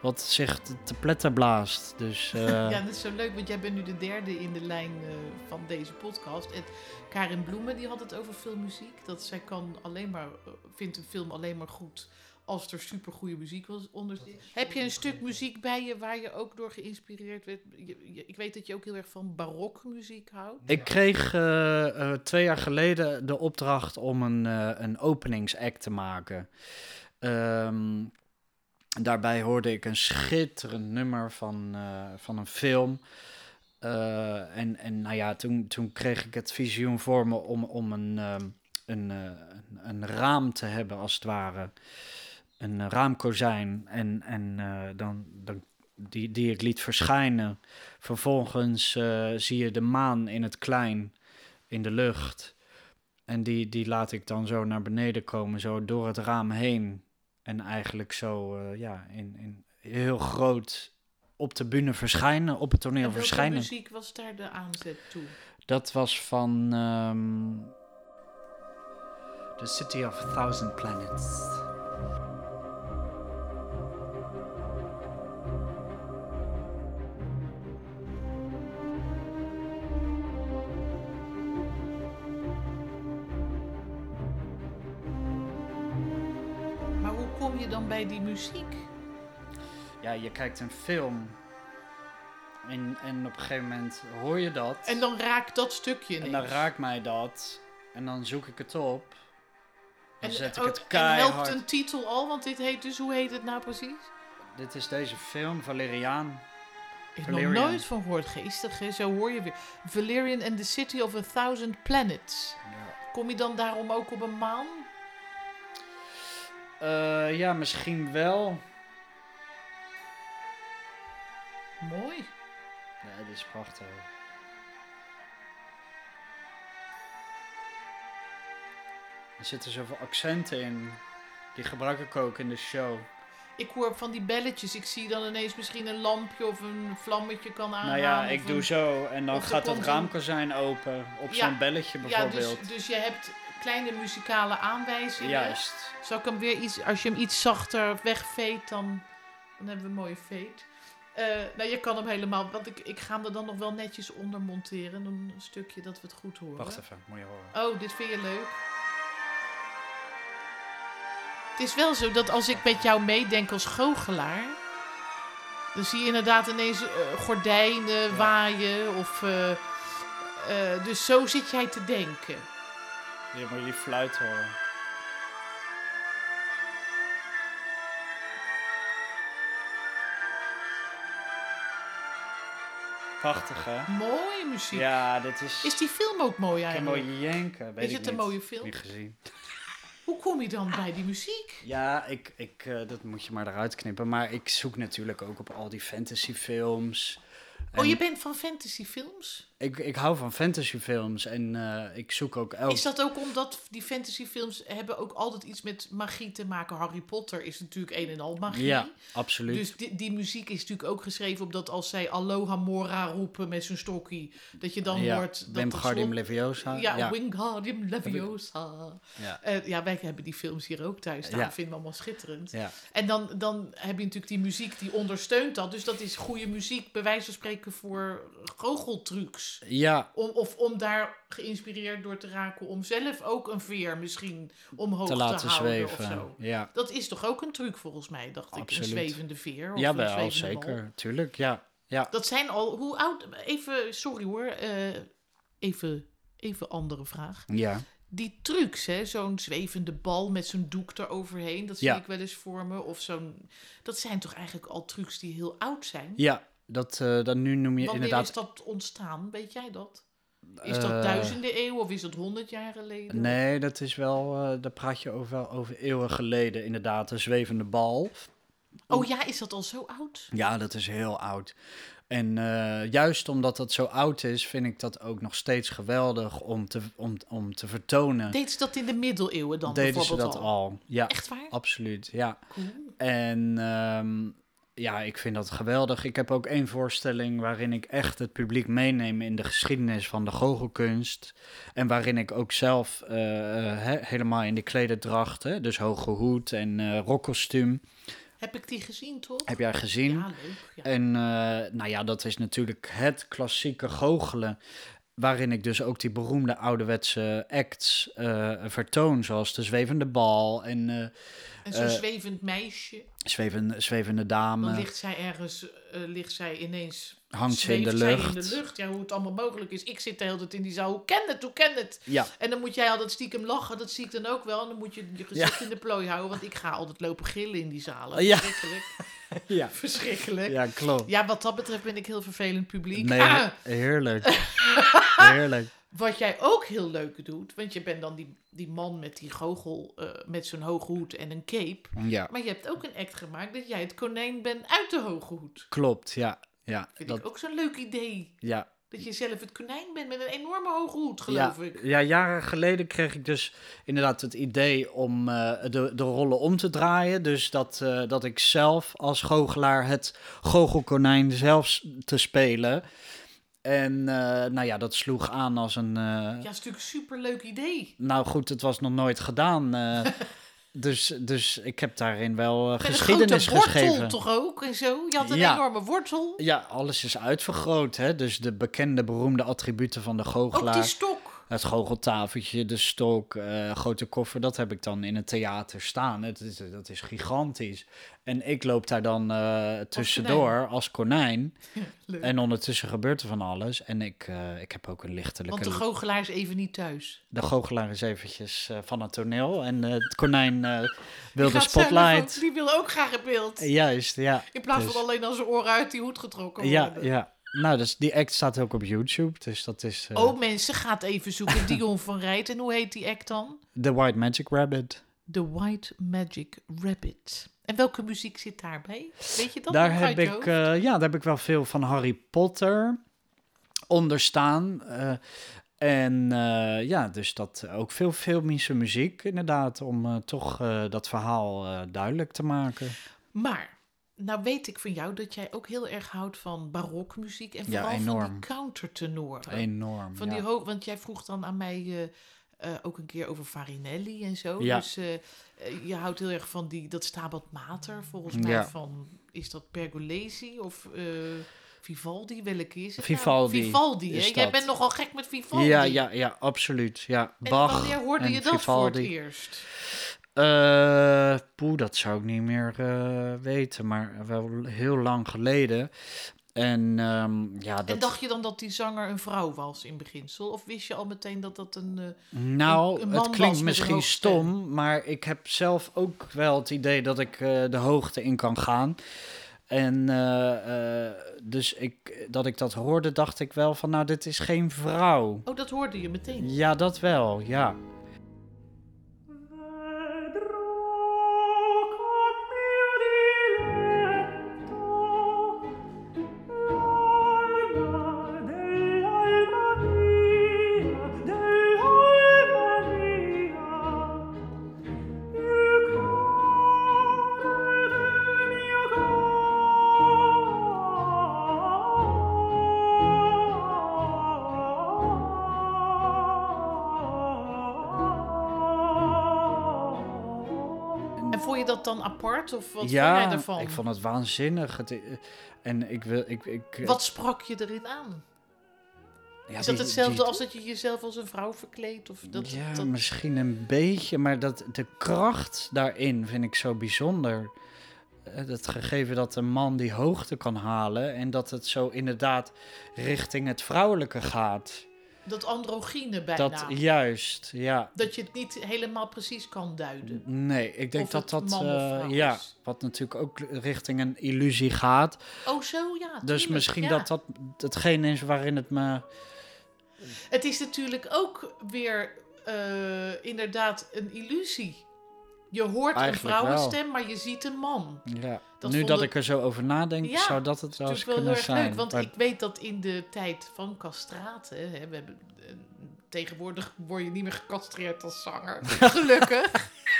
B: wat zich te- te pletter blaast. Dus eh,
A: Ja, dat is zo leuk, want jij bent nu de derde in de lijn eh, van deze podcast. En Karin Bloemen die had het over filmmuziek. Dat zij kan alleen maar, eh, vindt een film alleen maar goed als er supergoeie muziek was onder zit. Heb je een stuk muziek bij je waar je ook door geïnspireerd werd? Je- je- ik weet dat je ook heel erg van barokmuziek houdt.
B: Ik kreeg eh, eh, twee jaar geleden de opdracht om een, eh, een openingsact te maken. Ehm, daarbij hoorde ik een schitterend nummer van, eh, van een film. Eh, en, en nou ja, toen, toen kreeg ik het visioen voor me om, om een, ehm, een, eh, een, een raam te hebben, als het ware. Een eh, raamkozijn. En, en eh, dan, dan, die, die ik liet verschijnen. Vervolgens eh, zie je de maan in het klein in de lucht. En die, die laat ik dan zo naar beneden komen, zo door het raam heen. En eigenlijk zo eh, ja, in, in heel groot op de bühne verschijnen, op het
A: En
B: toneel
A: welke
B: verschijnen.
A: muziek was daar de aanzet toe?
B: Dat was van ehm, The City of a Thousand Planets.
A: Maar hoe kom je dan bij die muziek?
B: Ja, je kijkt een film. En, en op een gegeven moment hoor je dat.
A: En dan raakt dat stukje ineens.
B: En dan raakt mij dat. En dan zoek ik het op. Dan
A: En-
B: zet ik
A: oh,
B: het
A: En helpt
B: keihard.
A: een titel al, want dit heet dus, hoe heet het nou precies?
B: Dit is deze film, Valeriaan.
A: Ik heb nog
B: Valerian.
A: nooit van gehoord, geestig, hè? zo hoor je weer. Valerian and the City of a Thousand Planets. Kom je dan daarom ook op een maan?
B: Eh, ja, misschien wel.
A: Mooi.
B: Ja, dit is prachtig. Er zitten zoveel accenten in. Die gebruik ik ook in de show.
A: Ik hoor van die belletjes, ik zie dan ineens misschien een lampje of een vlammetje kan aangaan.
B: nou ja,
A: Ah, of
B: ik
A: een-
B: doe zo. En dan
A: of er
B: gaat dat
A: komt een-
B: raamkozijn open. Op
A: Ja,
B: zo'n belletje
A: Ja, dus,
B: bijvoorbeeld.
A: dus je hebt kleine muzikale aanwijzingen.
B: Juist.
A: Zal ik hem weer iets, als je hem iets zachter wegveet, dan, dan hebben we een mooie veet. Eh, nou, je kan hem helemaal, want ik, ik ga hem er dan nog wel netjes onder monteren. Een stukje dat we het goed horen.
B: Wacht even, moet je horen.
A: Oh, dit vind je leuk. Het is wel zo dat als ik met jou meedenk als goochelaar... dan zie je inderdaad ineens eh, gordijnen waaien of... eh, eh, dus zo zit jij te denken.
B: Ja, maar jullie fluit horen. Prachtig, hè?
A: Mooie muziek.
B: Ja, dit is...
A: Is die film ook mooi
B: Ik kan
A: eigenlijk?
B: mooi janken, weet
A: Is
B: ik
A: het een
B: niet.
A: mooie film?
B: Niet gezien.
A: Hoe kom je dan bij die muziek?
B: Ja, ik, ik, eh, dat moet je maar eruit knippen. Maar ik zoek natuurlijk ook op al die fantasyfilms.
A: Oh,
B: En
A: je bent van fantasyfilms?
B: ik, ik hou van fantasyfilms en eh, ik zoek ook elk...
A: Is dat ook omdat die fantasyfilms hebben ook altijd iets met magie te maken? Harry Potter is natuurlijk een en al magie.
B: Ja, absoluut.
A: Dus die, die muziek is natuurlijk ook geschreven op dat als zij Aloha Mora roepen met zijn stokkie, dat je dan
B: ja,
A: hoort... dat
B: Wim
A: dat
B: Guardium
A: slot-
B: Leviosa.
A: Ja,
B: ja.
A: Wingardium Leviosa.
B: ja.
A: Eh, ja, wij hebben die films hier ook thuis staan.
B: Ja.
A: Dat vinden we allemaal schitterend.
B: ja.
A: En dan, dan heb je natuurlijk die muziek die ondersteunt dat. Dus dat is goede muziek, bij wijze van spreken, voor goocheltrucs.
B: Ja,
A: Om, of om daar geïnspireerd door te raken. Om zelf ook een veer misschien omhoog te,
B: te laten
A: houden
B: zweven.
A: of zo.
B: Ja,
A: Dat is toch ook een truc volgens mij, dacht ik.
B: Absoluut.
A: Een zwevende veer. Of
B: ja
A: een
B: wel,
A: zwevende
B: zeker.
A: bal.
B: Tuurlijk, ja. ja.
A: Dat zijn al... Hoe oud... Even, sorry hoor. eh, even, even andere vraag.
B: Ja,
A: Die trucs, hè, zo'n zwevende bal met zo'n doek eroverheen, dat zie
B: Ja.
A: ik wel eens voor me. Of zo'n. Dat zijn toch eigenlijk al trucs die heel oud zijn?
B: ja dat, eh, dat nu noem je
A: Wanneer
B: inderdaad...
A: is dat ontstaan? Weet jij dat? Is dat
B: eh,
A: duizenden eeuwen of is dat honderd jaar geleden?
B: Nee, dat is wel, eh, daar praat je over, wel over eeuwen geleden inderdaad. De zwevende bal.
A: Oh ja, is dat al zo oud?
B: Ja, dat is heel oud. En eh, juist omdat dat zo oud is, vind ik dat ook nog steeds geweldig om te, om, om te vertonen.
A: Deed ze dat in de middeleeuwen dan
B: Deden ze
A: bijvoorbeeld
B: dat al? Ja,
A: Echt waar?
B: absoluut. Ja.
A: Cool.
B: En ehm, ja, ik vind dat geweldig. Ik heb ook één voorstelling waarin ik echt het publiek meeneem in de geschiedenis van de goochelkunst. En waarin ik ook zelf eh, he- helemaal in de klederdracht, hè, dus hoge hoed en eh rokkostuum,
A: Heb ik die gezien toch?
B: heb jij gezien.
A: Ja, leuk. Ja.
B: En eh, nou ja, dat is natuurlijk het klassieke goochelen. Waarin ik dus ook die beroemde ouderwetse acts eh, vertoon. Zoals de zwevende bal en eh,
A: En zo'n
B: eh,
A: zwevend meisje,
B: zwevende, zwevende
A: dan
B: dame.
A: ligt zij ergens, eh, ligt zij ineens
B: Hangt ze in
A: zweeft
B: de
A: zij
B: lucht.
A: in de lucht. Ja, hoe het allemaal mogelijk is. Ik zit de hele tijd in die zaal. Hoe ken het? Hoe ken het?
B: Ja,
A: En dan moet jij altijd stiekem lachen. Dat zie ik dan ook wel. En dan moet je je gezicht in de plooi houden. Want ik ga altijd lopen gillen in die zalen.
B: Oh, Ja.
A: Verschrikkelijk.
B: ja.
A: Verschrikkelijk. Ja.
B: ja klopt.
A: wat dat betreft ben ik heel vervelend publiek.
B: Nee,
A: Ah,
B: heerlijk. heerlijk.
A: wat jij ook heel leuk doet. Want je bent dan die, die man met die goochel. eh, met zo'n hoge hoed en een cape.
B: Ja,
A: Maar je hebt ook een act gemaakt dat jij het konijn bent uit de hoge hoed.
B: klopt. Ja, ja,
A: Vind
B: dat,
A: ik ook zo'n leuk idee.
B: ja,
A: Dat je zelf het konijn bent met een enorme hoge hoed,
B: ja,
A: geloof ik.
B: ja, jaren geleden kreeg ik dus inderdaad het idee om eh, de, de rollen om te draaien. Dus dat, eh, dat ik zelf als goochelaar het goochelkonijn zelf s- te spelen. En eh, nou ja, dat sloeg aan als een... eh,
A: Ja, is natuurlijk een superleuk idee.
B: Nou goed, het was nog nooit gedaan. eh, dus, dus ik heb daarin wel eh,
A: Met
B: geschiedenis
A: een grote wortel
B: geschreven.
A: toch ook en zo. Je had een
B: Ja.
A: enorme wortel.
B: Ja, alles is uitvergroot. Hè? Dus de bekende, beroemde attributen van de
A: Ook
B: goochelaar.
A: die stok.
B: Het goocheltafeltje, de stok, eh, grote koffer, dat heb ik dan in het theater staan. Het is, eh, dat is gigantisch. En ik loop daar dan eh, tussendoor als konijn.
A: Leuk.
B: En ondertussen gebeurt er van alles. En ik, eh, ik heb ook een lichtelijke...
A: Want de goochelaar is even niet thuis.
B: de goochelaar is eventjes eh, van het toneel. En eh, het konijn eh, wil de
A: Die gaat zelf
B: spotlight.
A: ook- Die wil ook graag in beeld.
B: Juist, ja.
A: In plaats
B: dus-
A: van alleen als zijn oren uit die hoed getrokken
B: Ja,
A: worden.
B: ja. Nou, dus die act staat ook op YouTube. Dus dat is eh,
A: Oh mensen, gaat even zoeken. Dion van Rijt. En hoe heet die act dan?
B: The White Magic Rabbit.
A: The White Magic Rabbit. En welke muziek zit daarbij? Weet je dat?
B: daar
A: nog
B: heb
A: uit je
B: ik,
A: hoofd?
B: eh, ja, daar heb ik wel veel van Harry Potter onderstaan. eh, en eh, ja, dus dat ook veel filmische muziek inderdaad, om eh, toch eh, dat verhaal eh, duidelijk te maken.
A: Maar, nou weet ik van jou dat jij ook heel erg houdt van barokmuziek. En
B: Ja,
A: vooral van
B: enorm.
A: die countertenoren.
B: Enorm.
A: Van
B: ja.
A: die hoog, want jij vroeg dan aan mij eh, eh, ook een keer over Farinelli en zo.
B: Ja.
A: Dus eh, eh, je houdt heel erg van die, dat Stabat Mater, volgens mij
B: Ja.
A: van, is dat Pergolesi of eh, Vivaldi? Welke is het?
B: Vivaldi
A: Nou? Vivaldi, hè?
B: is
A: Jij
B: dat.
A: bent nogal gek met Vivaldi.
B: ja, ja, ja, absoluut. Ja,
A: En
B: Bach
A: wanneer hoorde
B: en
A: je dat voor
B: Vivaldi.
A: het eerst?
B: Eh, poeh, dat zou ik niet meer eh, weten, maar wel heel lang geleden. En ehm, ja, dat...
A: En dacht je dan dat die zanger een vrouw was in beginsel? Of wist je al meteen dat dat een... eh,
B: Nou,
A: Een- een man
B: het
A: was
B: klinkt
A: met
B: misschien
A: een hoge stem.
B: stom, maar ik heb zelf ook wel het idee dat ik eh, de hoogte in kan gaan. En eh, eh, dus ik, dat ik dat hoorde, dacht ik wel van, nou, dit is geen vrouw.
A: Oh, dat hoorde je meteen.
B: Ja, dat wel, ja.
C: Vedrò con mio diletto l'alma dell'alma mia, dell'alma mia, il cuore del mio cuore.
A: En vond je dat dan apart? Of wat
B: ja,
A: vond jij ervan?
B: ik vond het waanzinnig. Het, eh, en ik wil, ik, ik...
A: Wat sprak je erin aan?
B: ja,
A: is
B: die-
A: dat hetzelfde
B: die-
A: als dat je jezelf als een vrouw verkleedt? Of dat,
B: ja,
A: dat-
B: misschien een beetje, maar dat, de kracht daarin vind ik zo bijzonder. Eh, Dat gegeven dat een man die hoogte kan halen en dat het zo inderdaad richting het vrouwelijke gaat.
A: dat androgyne bijna.
B: Dat
A: Dat,
B: juist, ja.
A: je het niet helemaal precies kan duiden.
B: Nee, ik denk
A: Of
B: dat
A: het
B: dat.
A: man of
B: eh,
A: vrouw
B: ja,
A: is.
B: wat natuurlijk ook richting een illusie gaat.
A: Oh, zo ja.
B: Dus
A: tuurlijk,
B: misschien
A: ja.
B: dat dat hetgeen is waarin het me.
A: Het is natuurlijk ook weer eh, inderdaad een illusie. Je hoort
B: Eigenlijk
A: een vrouwenstem, maar je ziet een man.
B: Ja,
A: Dat
B: nu
A: vond
B: dat
A: ik-
B: ik er zo over nadenk,
A: Ja,
B: zou dat het wel
A: Dat
B: eens
A: Dus is wel heel
B: kunnen
A: erg
B: zijn.
A: leuk, want
B: Maar-
A: ik weet dat in de tijd van castraten... Hè, we hebben, eh, tegenwoordig word je niet meer gecastreerd als zanger, gelukkig.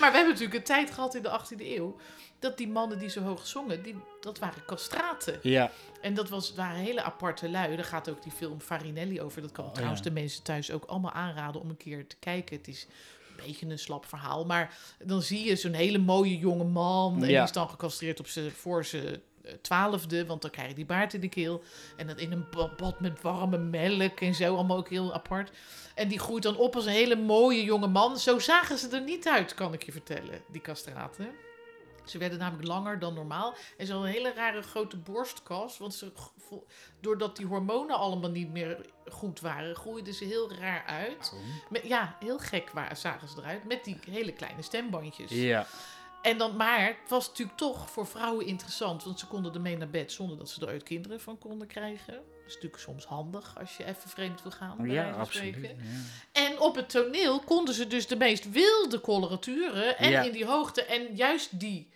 A: maar we hebben natuurlijk een tijd gehad in de 18e eeuw... dat die mannen die zo hoog zongen, die, dat waren castraten.
B: Ja,
A: En dat was, waren hele aparte lui. Daar gaat ook die film Farinelli over. Dat kan
B: Oh,
A: trouwens
B: ja.
A: de mensen thuis ook allemaal aanraden om een keer te kijken. Het is een beetje een slap verhaal. Maar dan zie je zo'n hele mooie jonge man. En die
B: Ja.
A: is dan gecastreerd op zijn, voor zijn eh, twaalfde. Want dan krijg je die baard in de keel. En dat in een ba- bad met warme melk en zo. Allemaal ook heel apart. En die groeit dan op als een hele mooie jonge man. Zo zagen ze er niet uit, kan ik je vertellen. Die castraten. Ze werden namelijk langer dan normaal. En ze hadden een hele rare grote borstkas. Want ze, vo- doordat die hormonen allemaal niet meer goed waren, groeiden ze heel raar uit. Met, ja, heel gek wa- zagen ze eruit. Met die hele kleine stembandjes.
B: ja.
A: En dan, maar het was natuurlijk toch voor vrouwen interessant. Want ze konden ermee naar bed zonder dat ze er ooit kinderen van konden krijgen. Dat is natuurlijk soms handig als je even vreemd wil gaan. bij
B: ja
A: wijze van
B: absoluut.
A: spreken.
B: ja.
A: En op het toneel konden ze dus de meest wilde coloraturen en
B: Ja.
A: in die hoogte. En juist die,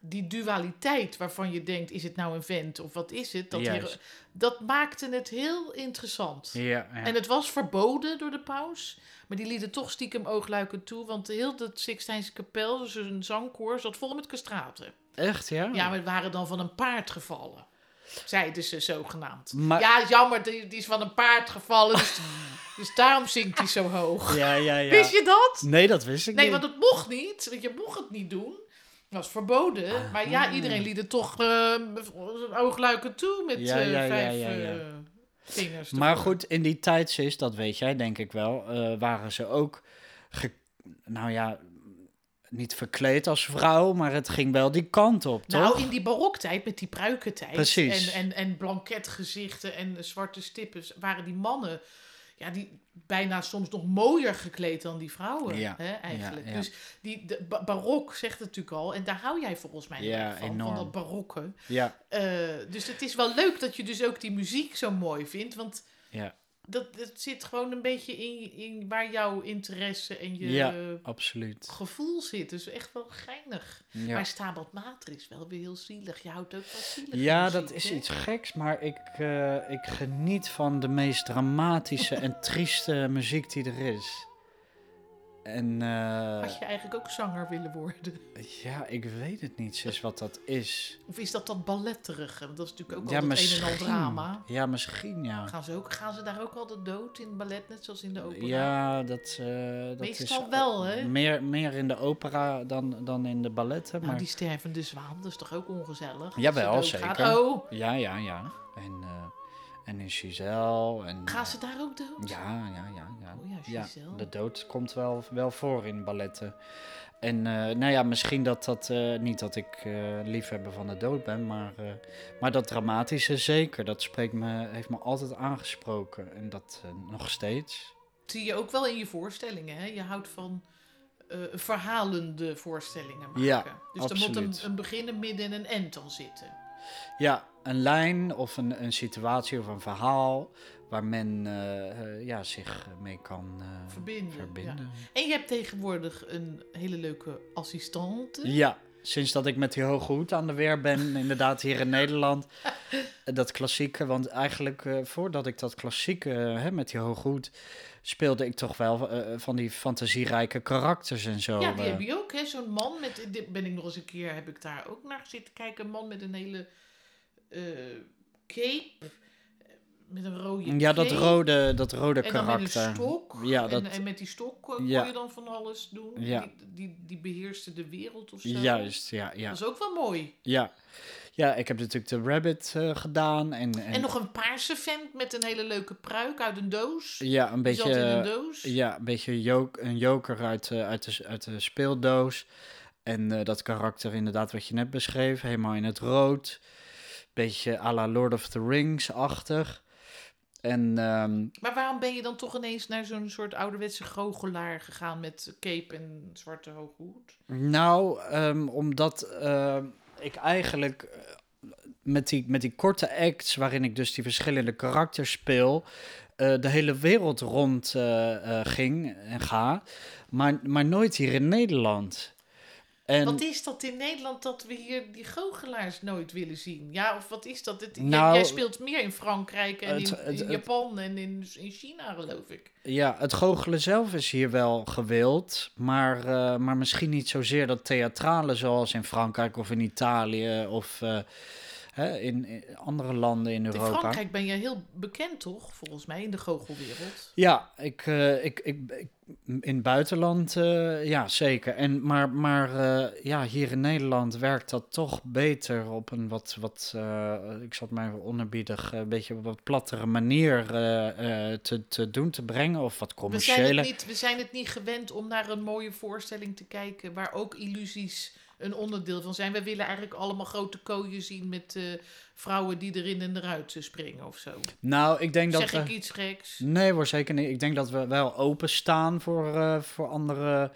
A: die dualiteit waarvan je denkt, is het nou een vent of wat is het? Dat,
B: Juist.
A: hier- dat maakte het heel interessant.
B: Ja, ja.
A: En het was verboden door de paus, maar die lieten toch stiekem oogluikend toe. Want heel dat Sixtijnse kapel, dus een zangkoor, zat vol met castraten.
B: echt, ja?
A: Ja, maar het waren dan van een paard gevallen. Zeiden ze zogenaamd.
B: Maar-
A: Ja, jammer, die, die is van een paard gevallen. Dus, dus daarom zingt hij zo hoog.
B: ja, ja, ja.
A: Wist je dat?
B: Nee, dat wist ik
A: Nee,
B: niet.
A: want het mocht niet. Want je mocht het niet doen. Dat was verboden.
B: Ah,
A: Maar
B: hmm.
A: ja, iedereen liet het toch eh, zijn oogluiken toe met
B: Ja,
A: eh,
B: ja, ja,
A: vijf
B: ja, ja.
A: eh, vingers.
B: Maar
A: ervoor.
B: goed, in die tijd, sis, dat weet jij denk ik wel, eh, waren ze ook, ge- nou ja, niet verkleed als vrouw, maar het ging wel die kant op, toch?
A: Nou, in die baroktijd, met die pruikentijd
B: Precies.
A: En, en, en blanketgezichten en eh, zwarte stippen, waren die mannen ja, die bijna soms nog mooier gekleed dan die vrouwen.
B: Ja,
A: Hè, eigenlijk.
B: ja, ja.
A: Dus die, de, ba- barok zegt het natuurlijk al, en daar hou jij volgens mij heel
B: Ja,
A: erg van,
B: enorm.
A: van dat barokke.
B: Ja,
A: Eh, dus het is wel leuk dat je dus ook die muziek zo mooi vindt, want
B: ja,
A: dat, dat zit gewoon een beetje in, in waar jouw interesse en je
B: Ja.
A: eh,
B: absoluut.
A: gevoel zit. Dus echt wel geinig.
B: Ja.
A: Maar Stabat Mater is wel weer heel zielig. Je houdt ook wel zielig.
B: Ja, dat is iets geks, maar ik, eh, ik geniet van de meest dramatische en trieste muziek die er is. En eh,
A: Had je eigenlijk ook zanger willen worden?
B: ja, ik weet het niet, zus, wat dat is.
A: Of is dat dat balletterige? Want dat is natuurlijk ook
B: ja,
A: altijd een en al drama.
B: Ja, misschien, ja.
A: Gaan ze, ook, gaan ze daar ook altijd dood in ballet, net zoals in de opera? Nou,
B: Ja, dat, eh, dat
A: Meestal
B: is
A: wel, hè?
B: Meer, meer in de opera dan, dan in de balletten.
A: Nou,
B: Maar...
A: die stervende zwaan, dat is toch ook ongezellig?
B: Jawel,
A: Als ze doodgaat.
B: zeker.
A: Oh,
B: Ja, ja, ja. En, eh, En in Giselle. En, eh,
A: Gaan ze daar ook dood?
B: Ja, ja, ja. ja.
A: Oh ja, Giselle.
B: de dood komt wel, wel voor in balletten. En eh, nou ja, misschien dat dat... eh, niet dat ik eh, liefhebber van de dood ben, maar... eh, maar dat dramatische zeker. Dat spreekt me, heeft me altijd aangesproken. En dat eh, nog steeds.
A: Zie je ook wel in je voorstellingen, hè? Je houdt van eh, verhalende voorstellingen maken.
B: Ja,
A: dus er moet een,
B: absoluut.
A: een begin, een midden en een end dan zitten.
B: Ja, een lijn of een, een situatie of een verhaal... waar men eh, eh, ja, zich mee kan eh,
A: Verbinden,
B: verbinden.
A: En je hebt tegenwoordig een hele leuke assistante.
B: Ja, sinds dat ik met die hoge hoed aan de weer ben, inderdaad hier in Nederland. Eh, Dat klassieke, want eigenlijk eh, voordat ik dat klassieke eh, hè, met die hoge hoed speelde ik toch wel eh, van die fantasierijke karakters en zo.
A: Ja, die
B: eh.
A: heb je ook, hè? Zo'n man met. Dit ben ik nog eens een keer, heb ik daar ook naar zitten kijken. Een man met een hele eh, cape. eh, Met een rode.
B: ja, dat
A: cape.
B: rode, dat rode
A: En dan met
B: karakter.
A: een stok.
B: Ja,
A: en,
B: dat-
A: en met die stok eh,
B: Ja.
A: kon je dan van alles doen.
B: Ja.
A: Die, die, die beheerste de wereld of zo.
B: Juist, ja, ja,
A: Dat is ook wel mooi.
B: ja. Ja, ik heb natuurlijk de Rabbit eh, gedaan. En, en,
A: En, nog een paarse vent met een hele leuke pruik uit een doos.
B: ja, een
A: Die
B: beetje. eh,
A: zat in een dus. doos.
B: Ja, een beetje jok- een joker uit, eh, uit, de, uit de speeldoos. En eh, dat karakter inderdaad wat je net beschreef, helemaal in het rood. Beetje à la Lord of the Rings-achtig. En ehm,
A: Maar waarom ben je dan toch ineens naar zo'n soort ouderwetse goochelaar gegaan met cape en zwarte hoge hoed?
B: nou, ehm, omdat ehm, ik eigenlijk eh, met, die, met die korte acts waarin ik dus die verschillende karakters speel... eh, de hele wereld rond eh, eh, ging en ga, maar, maar nooit hier in Nederland. En,
A: Wat is dat in Nederland dat we hier die goochelaars nooit willen zien? Ja, of wat is dat? Het, jij-
B: Nou,
A: jij speelt meer in Frankrijk en
B: het-
A: in,
B: het-
A: in
B: het-
A: Japan en in, in China, geloof ik.
B: Ja, het goochelen zelf is hier wel gewild, maar, eh, maar misschien niet zozeer dat theatrale zoals in Frankrijk of in Italië of eh, hè, in, in andere landen in
A: In
B: Europa.
A: Frankrijk ben je heel bekend, toch? Volgens mij, in de goochelwereld.
B: Ja, ik, eh, ik, ik, ik- in het buitenland, eh, ja zeker. En, maar maar eh, ja, hier in Nederland werkt dat toch beter op een wat, wat eh, ik zat mij onerbiedig, eh, een beetje op wat plattere manier eh, eh, te, te doen, te brengen of wat
A: We
B: commerciële.
A: zijn, het niet, we zijn het niet gewend om naar een mooie voorstelling te kijken waar ook illusies een onderdeel van zijn. We willen eigenlijk allemaal grote kooien zien met eh, vrouwen die erin en eruit eh, springen of zo.
B: Nou, ik denk dat...
A: Zeg
B: we-
A: ik iets geks?
B: Nee hoor, zeker niet. Ik denk dat we wel openstaan voor, eh, voor andere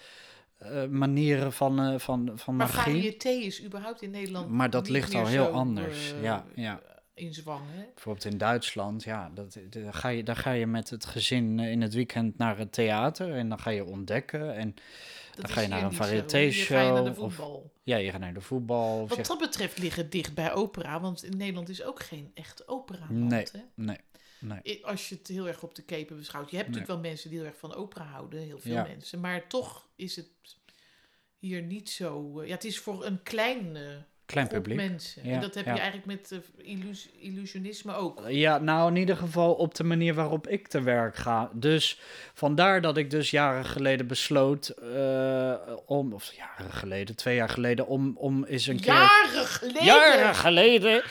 B: eh, manieren van, eh, van, van
A: Maar
B: magie.
A: variété is überhaupt in Nederland.
B: Maar dat
A: niet
B: ligt
A: meer
B: al heel
A: zo,
B: anders.
A: eh,
B: ja, ja.
A: In zwang, hè?
B: Bijvoorbeeld in Duitsland, ja, dat, daar, ga je, daar ga je met het gezin eh, in het weekend naar het theater en dan ga je ontdekken. En
A: Dat
B: ga je
A: is
B: naar
A: hier
B: een
A: niet zo.
B: variété
A: Hier ga je naar de
B: show of-
A: voetbal.
B: ja, je gaat naar de voetbal. Of je-
A: Wat dat betreft liggen dicht bij opera, want in Nederland is ook geen echt opera.
B: Nee.
A: Hè?
B: Nee, nee.
A: I- Als je het heel erg op de kepen beschouwt. Je hebt
B: Nee.
A: natuurlijk wel mensen die heel erg van opera houden, heel veel
B: Ja.
A: mensen. Maar toch is het hier niet zo. eh, ja, het is voor een klein, eh,
B: Klein
A: groep
B: publiek.
A: mensen.
B: Ja,
A: en dat heb
B: ja.
A: je eigenlijk met eh, illus- illusionisme ook.
B: Ja, nou in ieder geval op de manier waarop ik te werk ga. Dus vandaar dat ik dus jaren geleden besloot eh, om, of jaren geleden, twee jaar geleden, om, om eens een keer...
A: Jaren geleden!
B: Jaren geleden!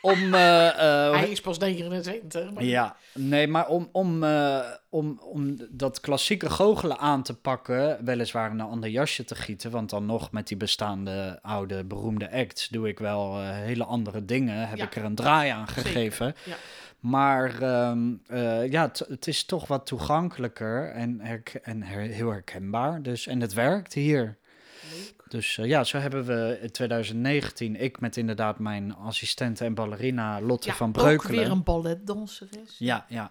B: Om, eh, eh,
A: Hij is pas 29. Maar
B: ja, nee, maar om, om, eh, om, om dat klassieke goochelen aan te pakken, weliswaar in een ander jasje te gieten, want dan nog met die bestaande oude beroemde acts doe ik wel eh, hele andere dingen, heb
A: Ja.
B: ik er een draai aan
A: zeker.
B: gegeven.
A: Ja.
B: Maar ehm, eh, ja, het- het is toch wat toegankelijker en, herk- en her- heel herkenbaar. Dus, en het werkt hier.
A: Leuk.
B: Dus eh, ja, zo hebben we in 2019, ik met inderdaad mijn assistente en ballerina Lotte
A: Ja,
B: van
A: Ook
B: Breukelen.
A: weer een balletdanseres.
B: Ja, ja.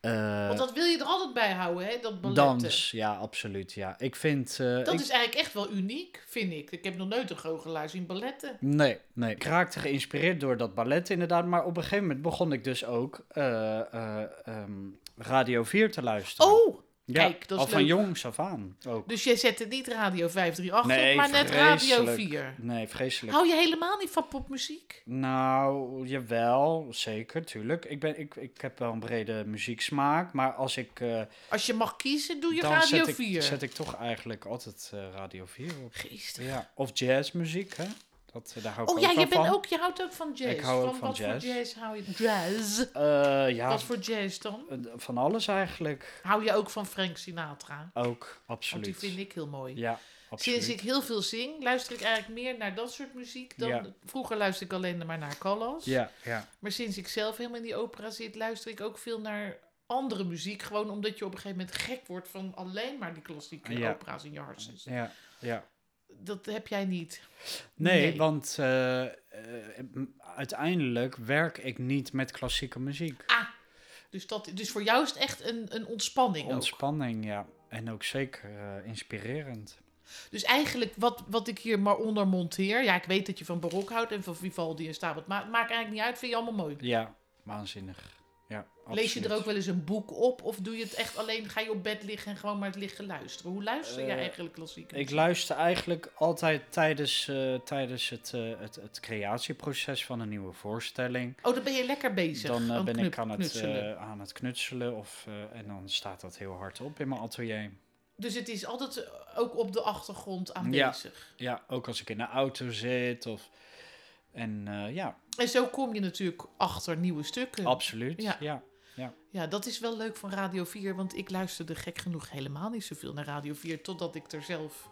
B: Eh,
A: Want dat wil je er altijd bij houden, hè? Dat ballet.
B: dans, ja, absoluut. Ja. Ik vind. eh,
A: Dat
B: ik-
A: is eigenlijk echt wel uniek, vind ik. Ik heb nog nooit een goochelaar zien balletten.
B: Nee, nee. Ik raakte geïnspireerd door dat ballet inderdaad. Maar op een gegeven moment begon ik dus ook eh, eh, ehm, Radio 4 te luisteren.
A: Oh!
B: Ja,
A: Kijk, dat is
B: al van
A: leuk.
B: jongs af aan ook.
A: Dus jij zette niet Radio 538
B: Nee,
A: op, maar net Radio
B: vreselijk.
A: 4.
B: Nee, vreselijk.
A: Hou je helemaal niet van popmuziek?
B: Nou, jawel, zeker, tuurlijk. Ik, ben, ik, ik heb wel een brede muzieksmaak, maar als ik... eh,
A: Als je mag kiezen, doe je
B: dan
A: Radio
B: zet
A: 4.
B: Ik, zet ik toch eigenlijk altijd eh, Radio 4 op.
A: Geestig.
B: Ja, of jazzmuziek, hè? Dat, eh, daar hou ik
A: Oh
B: ook
A: ja,
B: wel
A: je, bent
B: van.
A: ook, je houdt ook van jazz.
B: Ik hou ook
A: van,
B: van
A: wat
B: jazz.
A: voor jazz hou je? Jazz.
B: Eh, ja,
A: Wat voor jazz dan?
B: eh, van alles eigenlijk.
A: Hou je ook van Frank Sinatra?
B: Ook,
A: Want die
B: absoluut.
A: vind ik heel mooi.
B: Ja, absoluut.
A: Sinds ik heel veel zing, luister ik eigenlijk meer naar dat soort muziek dan...
B: Ja.
A: Vroeger luister ik alleen maar naar Callas.
B: Ja, ja.
A: Maar sinds ik zelf helemaal in die opera zit, luister ik ook veel naar andere muziek. Gewoon omdat je op een gegeven moment gek wordt van alleen maar die klassieke
B: Ja.
A: opera's in je hartjes.
B: ja, ja.
A: Dat heb jij niet.
B: Nee,
A: Nee.
B: want eh, eh, m- uiteindelijk werk ik niet met klassieke muziek.
A: Ah, dus, dat, dus voor jou is het echt een, een ontspanning ook.
B: Ontspanning, ja. En ook zeker eh, inspirerend.
A: Dus eigenlijk wat, wat ik hier maar onder monteer. Ja, ik weet dat je van barok houdt en van Vivaldi en Stabat. Maar het maakt eigenlijk niet uit. Vind je allemaal mooi.
B: Ja, waanzinnig. Ja,
A: Lees je
B: absoluut.
A: er ook wel eens een boek op? Of doe je het echt alleen? Ga je op bed liggen en gewoon maar het liggen luisteren? Hoe luister jij
B: Eh,
A: eigenlijk klassiek?
B: Ik luister eigenlijk altijd tijdens, eh, tijdens het, eh, het, het creatieproces van een nieuwe voorstelling.
A: Oh, dan ben je lekker bezig.
B: Dan eh,
A: aan
B: ben
A: knut-
B: ik aan het,
A: knutselen.
B: eh, aan het knutselen of, eh, en dan staat dat heel hard op in mijn atelier.
A: Dus het is altijd eh, ook op de achtergrond aanwezig.
B: Ja, ook als ik in de auto zit. Of, en eh, ja,
A: En zo kom je natuurlijk achter nieuwe stukken.
B: absoluut.
A: Ja.
B: ja.
A: ja, dat is wel leuk van Radio 4, want ik luisterde gek genoeg helemaal niet zoveel naar Radio 4, totdat ik er zelf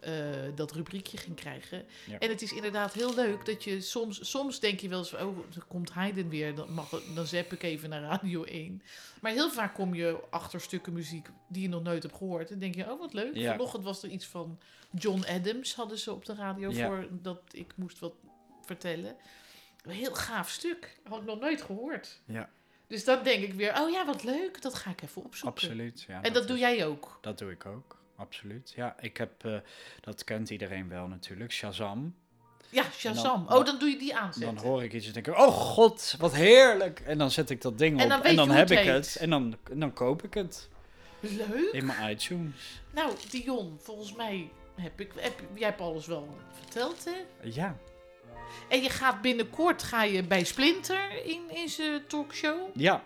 A: eh, dat rubriekje ging krijgen.
B: Ja.
A: En het is inderdaad heel leuk dat je soms, soms denk je wel eens, oh, dan komt Haydn weer, dan, mag, dan zap ik even naar Radio 1. Maar heel vaak kom je achter stukken muziek die je nog nooit hebt gehoord en denk je, oh wat leuk.
B: Ja.
A: Vanochtend was er iets van John Adams, hadden ze op de radio
B: Ja.
A: voor dat ik moest wat vertellen. Een heel gaaf stuk, had ik nog nooit gehoord. Dus dan denk ik weer, oh ja, wat leuk, dat ga ik even opzoeken.
B: Absoluut. Ja,
A: En dat doe
B: is-
A: jij ook.
B: Dat doe ik ook, absoluut. Ja, ik heb, eh, dat kent iedereen wel natuurlijk, Shazam.
A: Ja, Shazam.
B: En dan-
A: oh, dan doe je die aanzetten.
B: Dan hoor ik iets en denk ik, oh god, wat heerlijk. En dan zet ik dat ding
A: En
B: op
A: dan weet je hoe
B: heb
A: het
B: ik
A: heet.
B: het. En dan, en dan koop ik het
A: Leuk.
B: in mijn iTunes.
A: Nou, Dion, volgens mij heb ik, heb, jij hebt alles wel verteld, hè?
B: Ja,
A: En je gaat binnenkort ga je bij Splinter in, in zijn talkshow.
B: ja. Als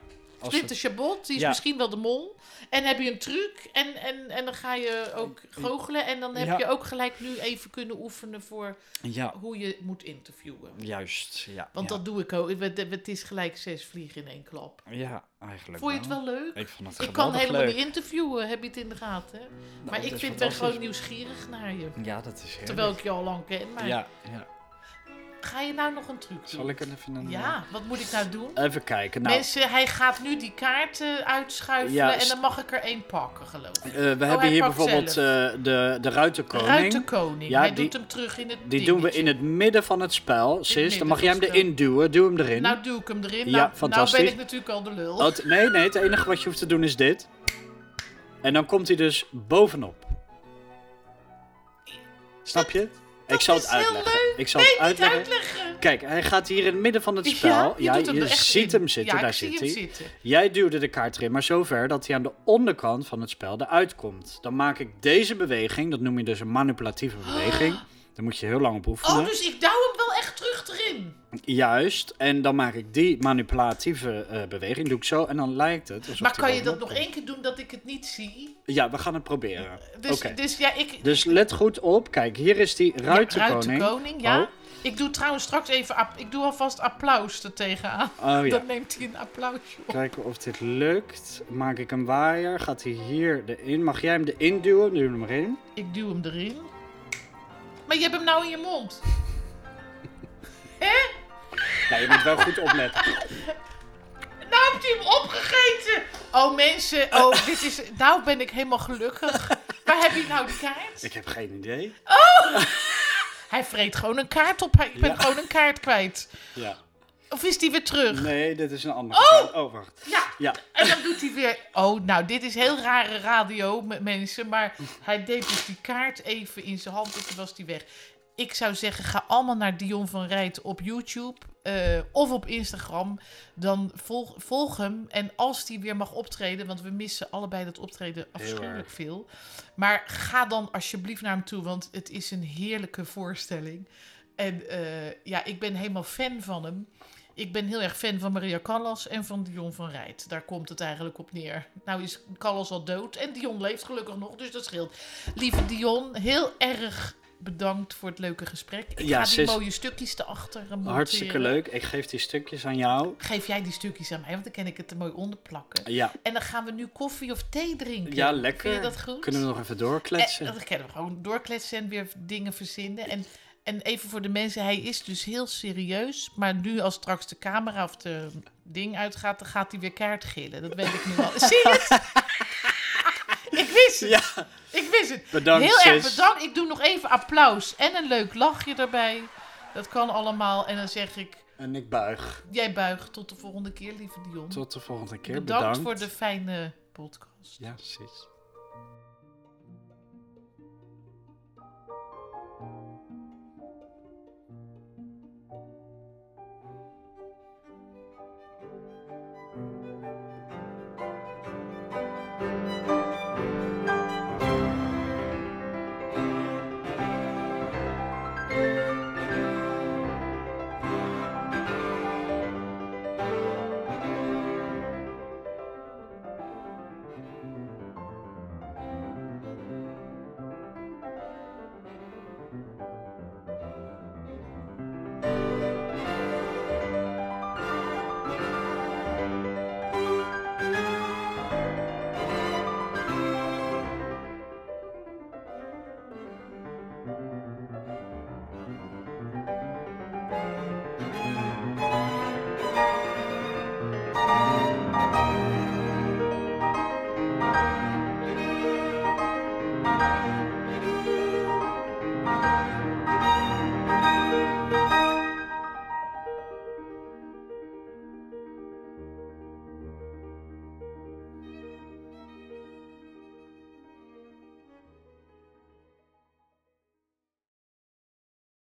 A: Splinter
B: het-
A: Chabot, die is
B: Ja.
A: misschien wel de mol. En heb je een truc en, en, en dan ga je ook goochelen. En dan heb
B: Ja.
A: je ook gelijk nu even kunnen oefenen voor
B: ja,
A: hoe je moet interviewen.
B: juist. Ja,
A: Want
B: ja.
A: dat doe ik ook. Het het is gelijk zes vliegen in één klap.
B: Ja, eigenlijk
A: Vond je het wel leuk?
B: Ik vond het
A: Ik kan
B: geweldig
A: helemaal
B: leuk. Nou,
A: niet interviewen, heb je het in de gaten? maar
B: dat
A: ik
B: is
A: vind ben gewoon
B: fantastisch.
A: nieuwsgierig naar je.
B: Ja, dat is heel
A: Terwijl ik je al lang ken. Maar
B: Ja, ja.
A: ga je nou nog een truc doen?
B: Zal ik het even... Een,
A: Ja, wat moet ik nou doen?
B: Even kijken. Nou,
A: Mensen, hij gaat nu die kaarten uitschuiven
B: Ja,
A: en
B: st-
A: dan mag ik er één pakken, geloof ik.
B: eh, we hebben
A: hij
B: hier
A: pakt
B: bijvoorbeeld
A: Oh, zelf.
B: eh, de, de Ruiterkoning.
A: Ruiterkoning,
B: Ja,
A: hij
B: die-
A: doet hem terug in het
B: Die doen we in het midden van het spel, sis.
A: midden
B: Dan mag jij hem
A: van het
B: erin duwen. Duw hem
A: dingetje.
B: erin.
A: Nou doe ik hem erin.
B: Ja,
A: nou, nou ben
B: fantastisch.
A: ik natuurlijk al de lul.
B: Oh, t- nee, nee, het enige wat je hoeft te doen is dit. En dan komt hij dus bovenop. Snap je? ik zal het
A: is heel
B: uitleggen.
A: leuk.
B: Ik zal
A: nee,
B: het uitleggen.
A: niet uitleggen.
B: Kijk, hij gaat hier in het midden van het spel.
A: Ja,
B: Ja,
A: je doet hem
B: je
A: er echt
B: ziet
A: in.
B: hem zitten.
A: Ja,
B: daar
A: ik zie
B: zit
A: hem
B: hij.
A: zitten.
B: Jij duwde de kaart erin, maar zover dat hij aan de onderkant van het spel eruit komt. Dan maak ik deze beweging, dat noem je dus een manipulatieve beweging. Daar moet je heel lang op oefenen.
A: Oh, dus ik duw hem wel echt terug erin.
B: Juist, en dan maak ik die manipulatieve eh, beweging, doe ik zo, en dan lijkt het alsof
A: Maar
B: die
A: kan je dat
B: bovenop
A: nog één keer doen dat ik het niet zie?
B: komt. Ja, we gaan het proberen.
A: Dus,
B: Oké.
A: dus ja, ik.
B: Dus let goed op, kijk, hier is die
A: de
B: ruiterkoning.
A: koning, ja.
B: Oh.
A: Ik doe trouwens straks even. app- Ik doe alvast applaus er tegenaan.
B: Oh ja,
A: Dan neemt hij een applausje op.
B: kijken of dit lukt. Maak ik een waaier, gaat hij hier erin. Mag jij hem erin duwen? Duw hem erin.
A: Ik duw hem erin. Maar je hebt hem nou in je mond. Hè?
B: Ja, je moet wel goed opletten.
A: Nou heeft hij hem opgegeten. Oh mensen, oh, dit is, nou ben ik helemaal gelukkig. Waar heb je nou de kaart?
B: Ik heb geen idee.
A: Hij vreet gewoon een kaart op. Hij- Ik ben
B: Ja.
A: gewoon een kaart kwijt.
B: Ja.
A: Of is die weer terug?
B: Nee, dit is een andere. kaart. Oh, wacht.
A: Ja,
B: Ja,
A: En dan doet hij weer. Oh, nou, dit is heel rare radio met mensen. Maar hij deed dus die kaart even in zijn hand en toen was hij weg. Ik zou zeggen, ga allemaal naar Dion van Rijt op YouTube eh, of op Instagram. Dan volg, volg hem. En als hij weer mag optreden, want we missen allebei dat optreden afschuwelijk
B: erg.
A: veel. Maar ga dan alsjeblieft naar hem toe, want het is een heerlijke voorstelling. En eh, ja, ik ben helemaal fan van hem. Ik ben heel erg fan van Maria Callas en van Dion van Rijt. Daar komt het eigenlijk op neer. Nou is Callas al dood en Dion leeft gelukkig nog, dus dat scheelt. Lieve Dion, heel erg bedankt voor het leuke gesprek. Ik
B: Ja,
A: ga die
B: sis.
A: mooie stukjes erachter monteren.
B: Hartstikke leuk. Ik geef die stukjes aan jou. Eh,
A: Geef jij die stukjes aan mij, want dan kan ik het er mooi onder plakken.
B: Ja,
A: En dan gaan we nu koffie of thee drinken.
B: ja lekker.
A: Vind je dat goed?
B: Kunnen we nog even
A: En,
B: doorkletsen?
A: Eh, dat kunnen we gewoon doorkletsen en weer dingen verzinnen. En, en even voor de mensen, hij is dus heel serieus. Maar nu als straks de camera of de ding uitgaat, dan gaat hij weer kaart gillen. Dat weet ik nu al. Zie je het? Ik wist het.
B: Ja,
A: Ik wist het.
B: bedankt
A: heel erg
B: sis.
A: bedankt. Ik doe nog even applaus en een leuk lachje erbij. Dat kan allemaal. En dan zeg ik,
B: En ik buig.
A: jij buigt tot de volgende keer, lieve Dion.
B: Tot de volgende keer.
A: bedankt,
B: Bedankt.
A: voor de fijne podcast.
B: Ja, sis.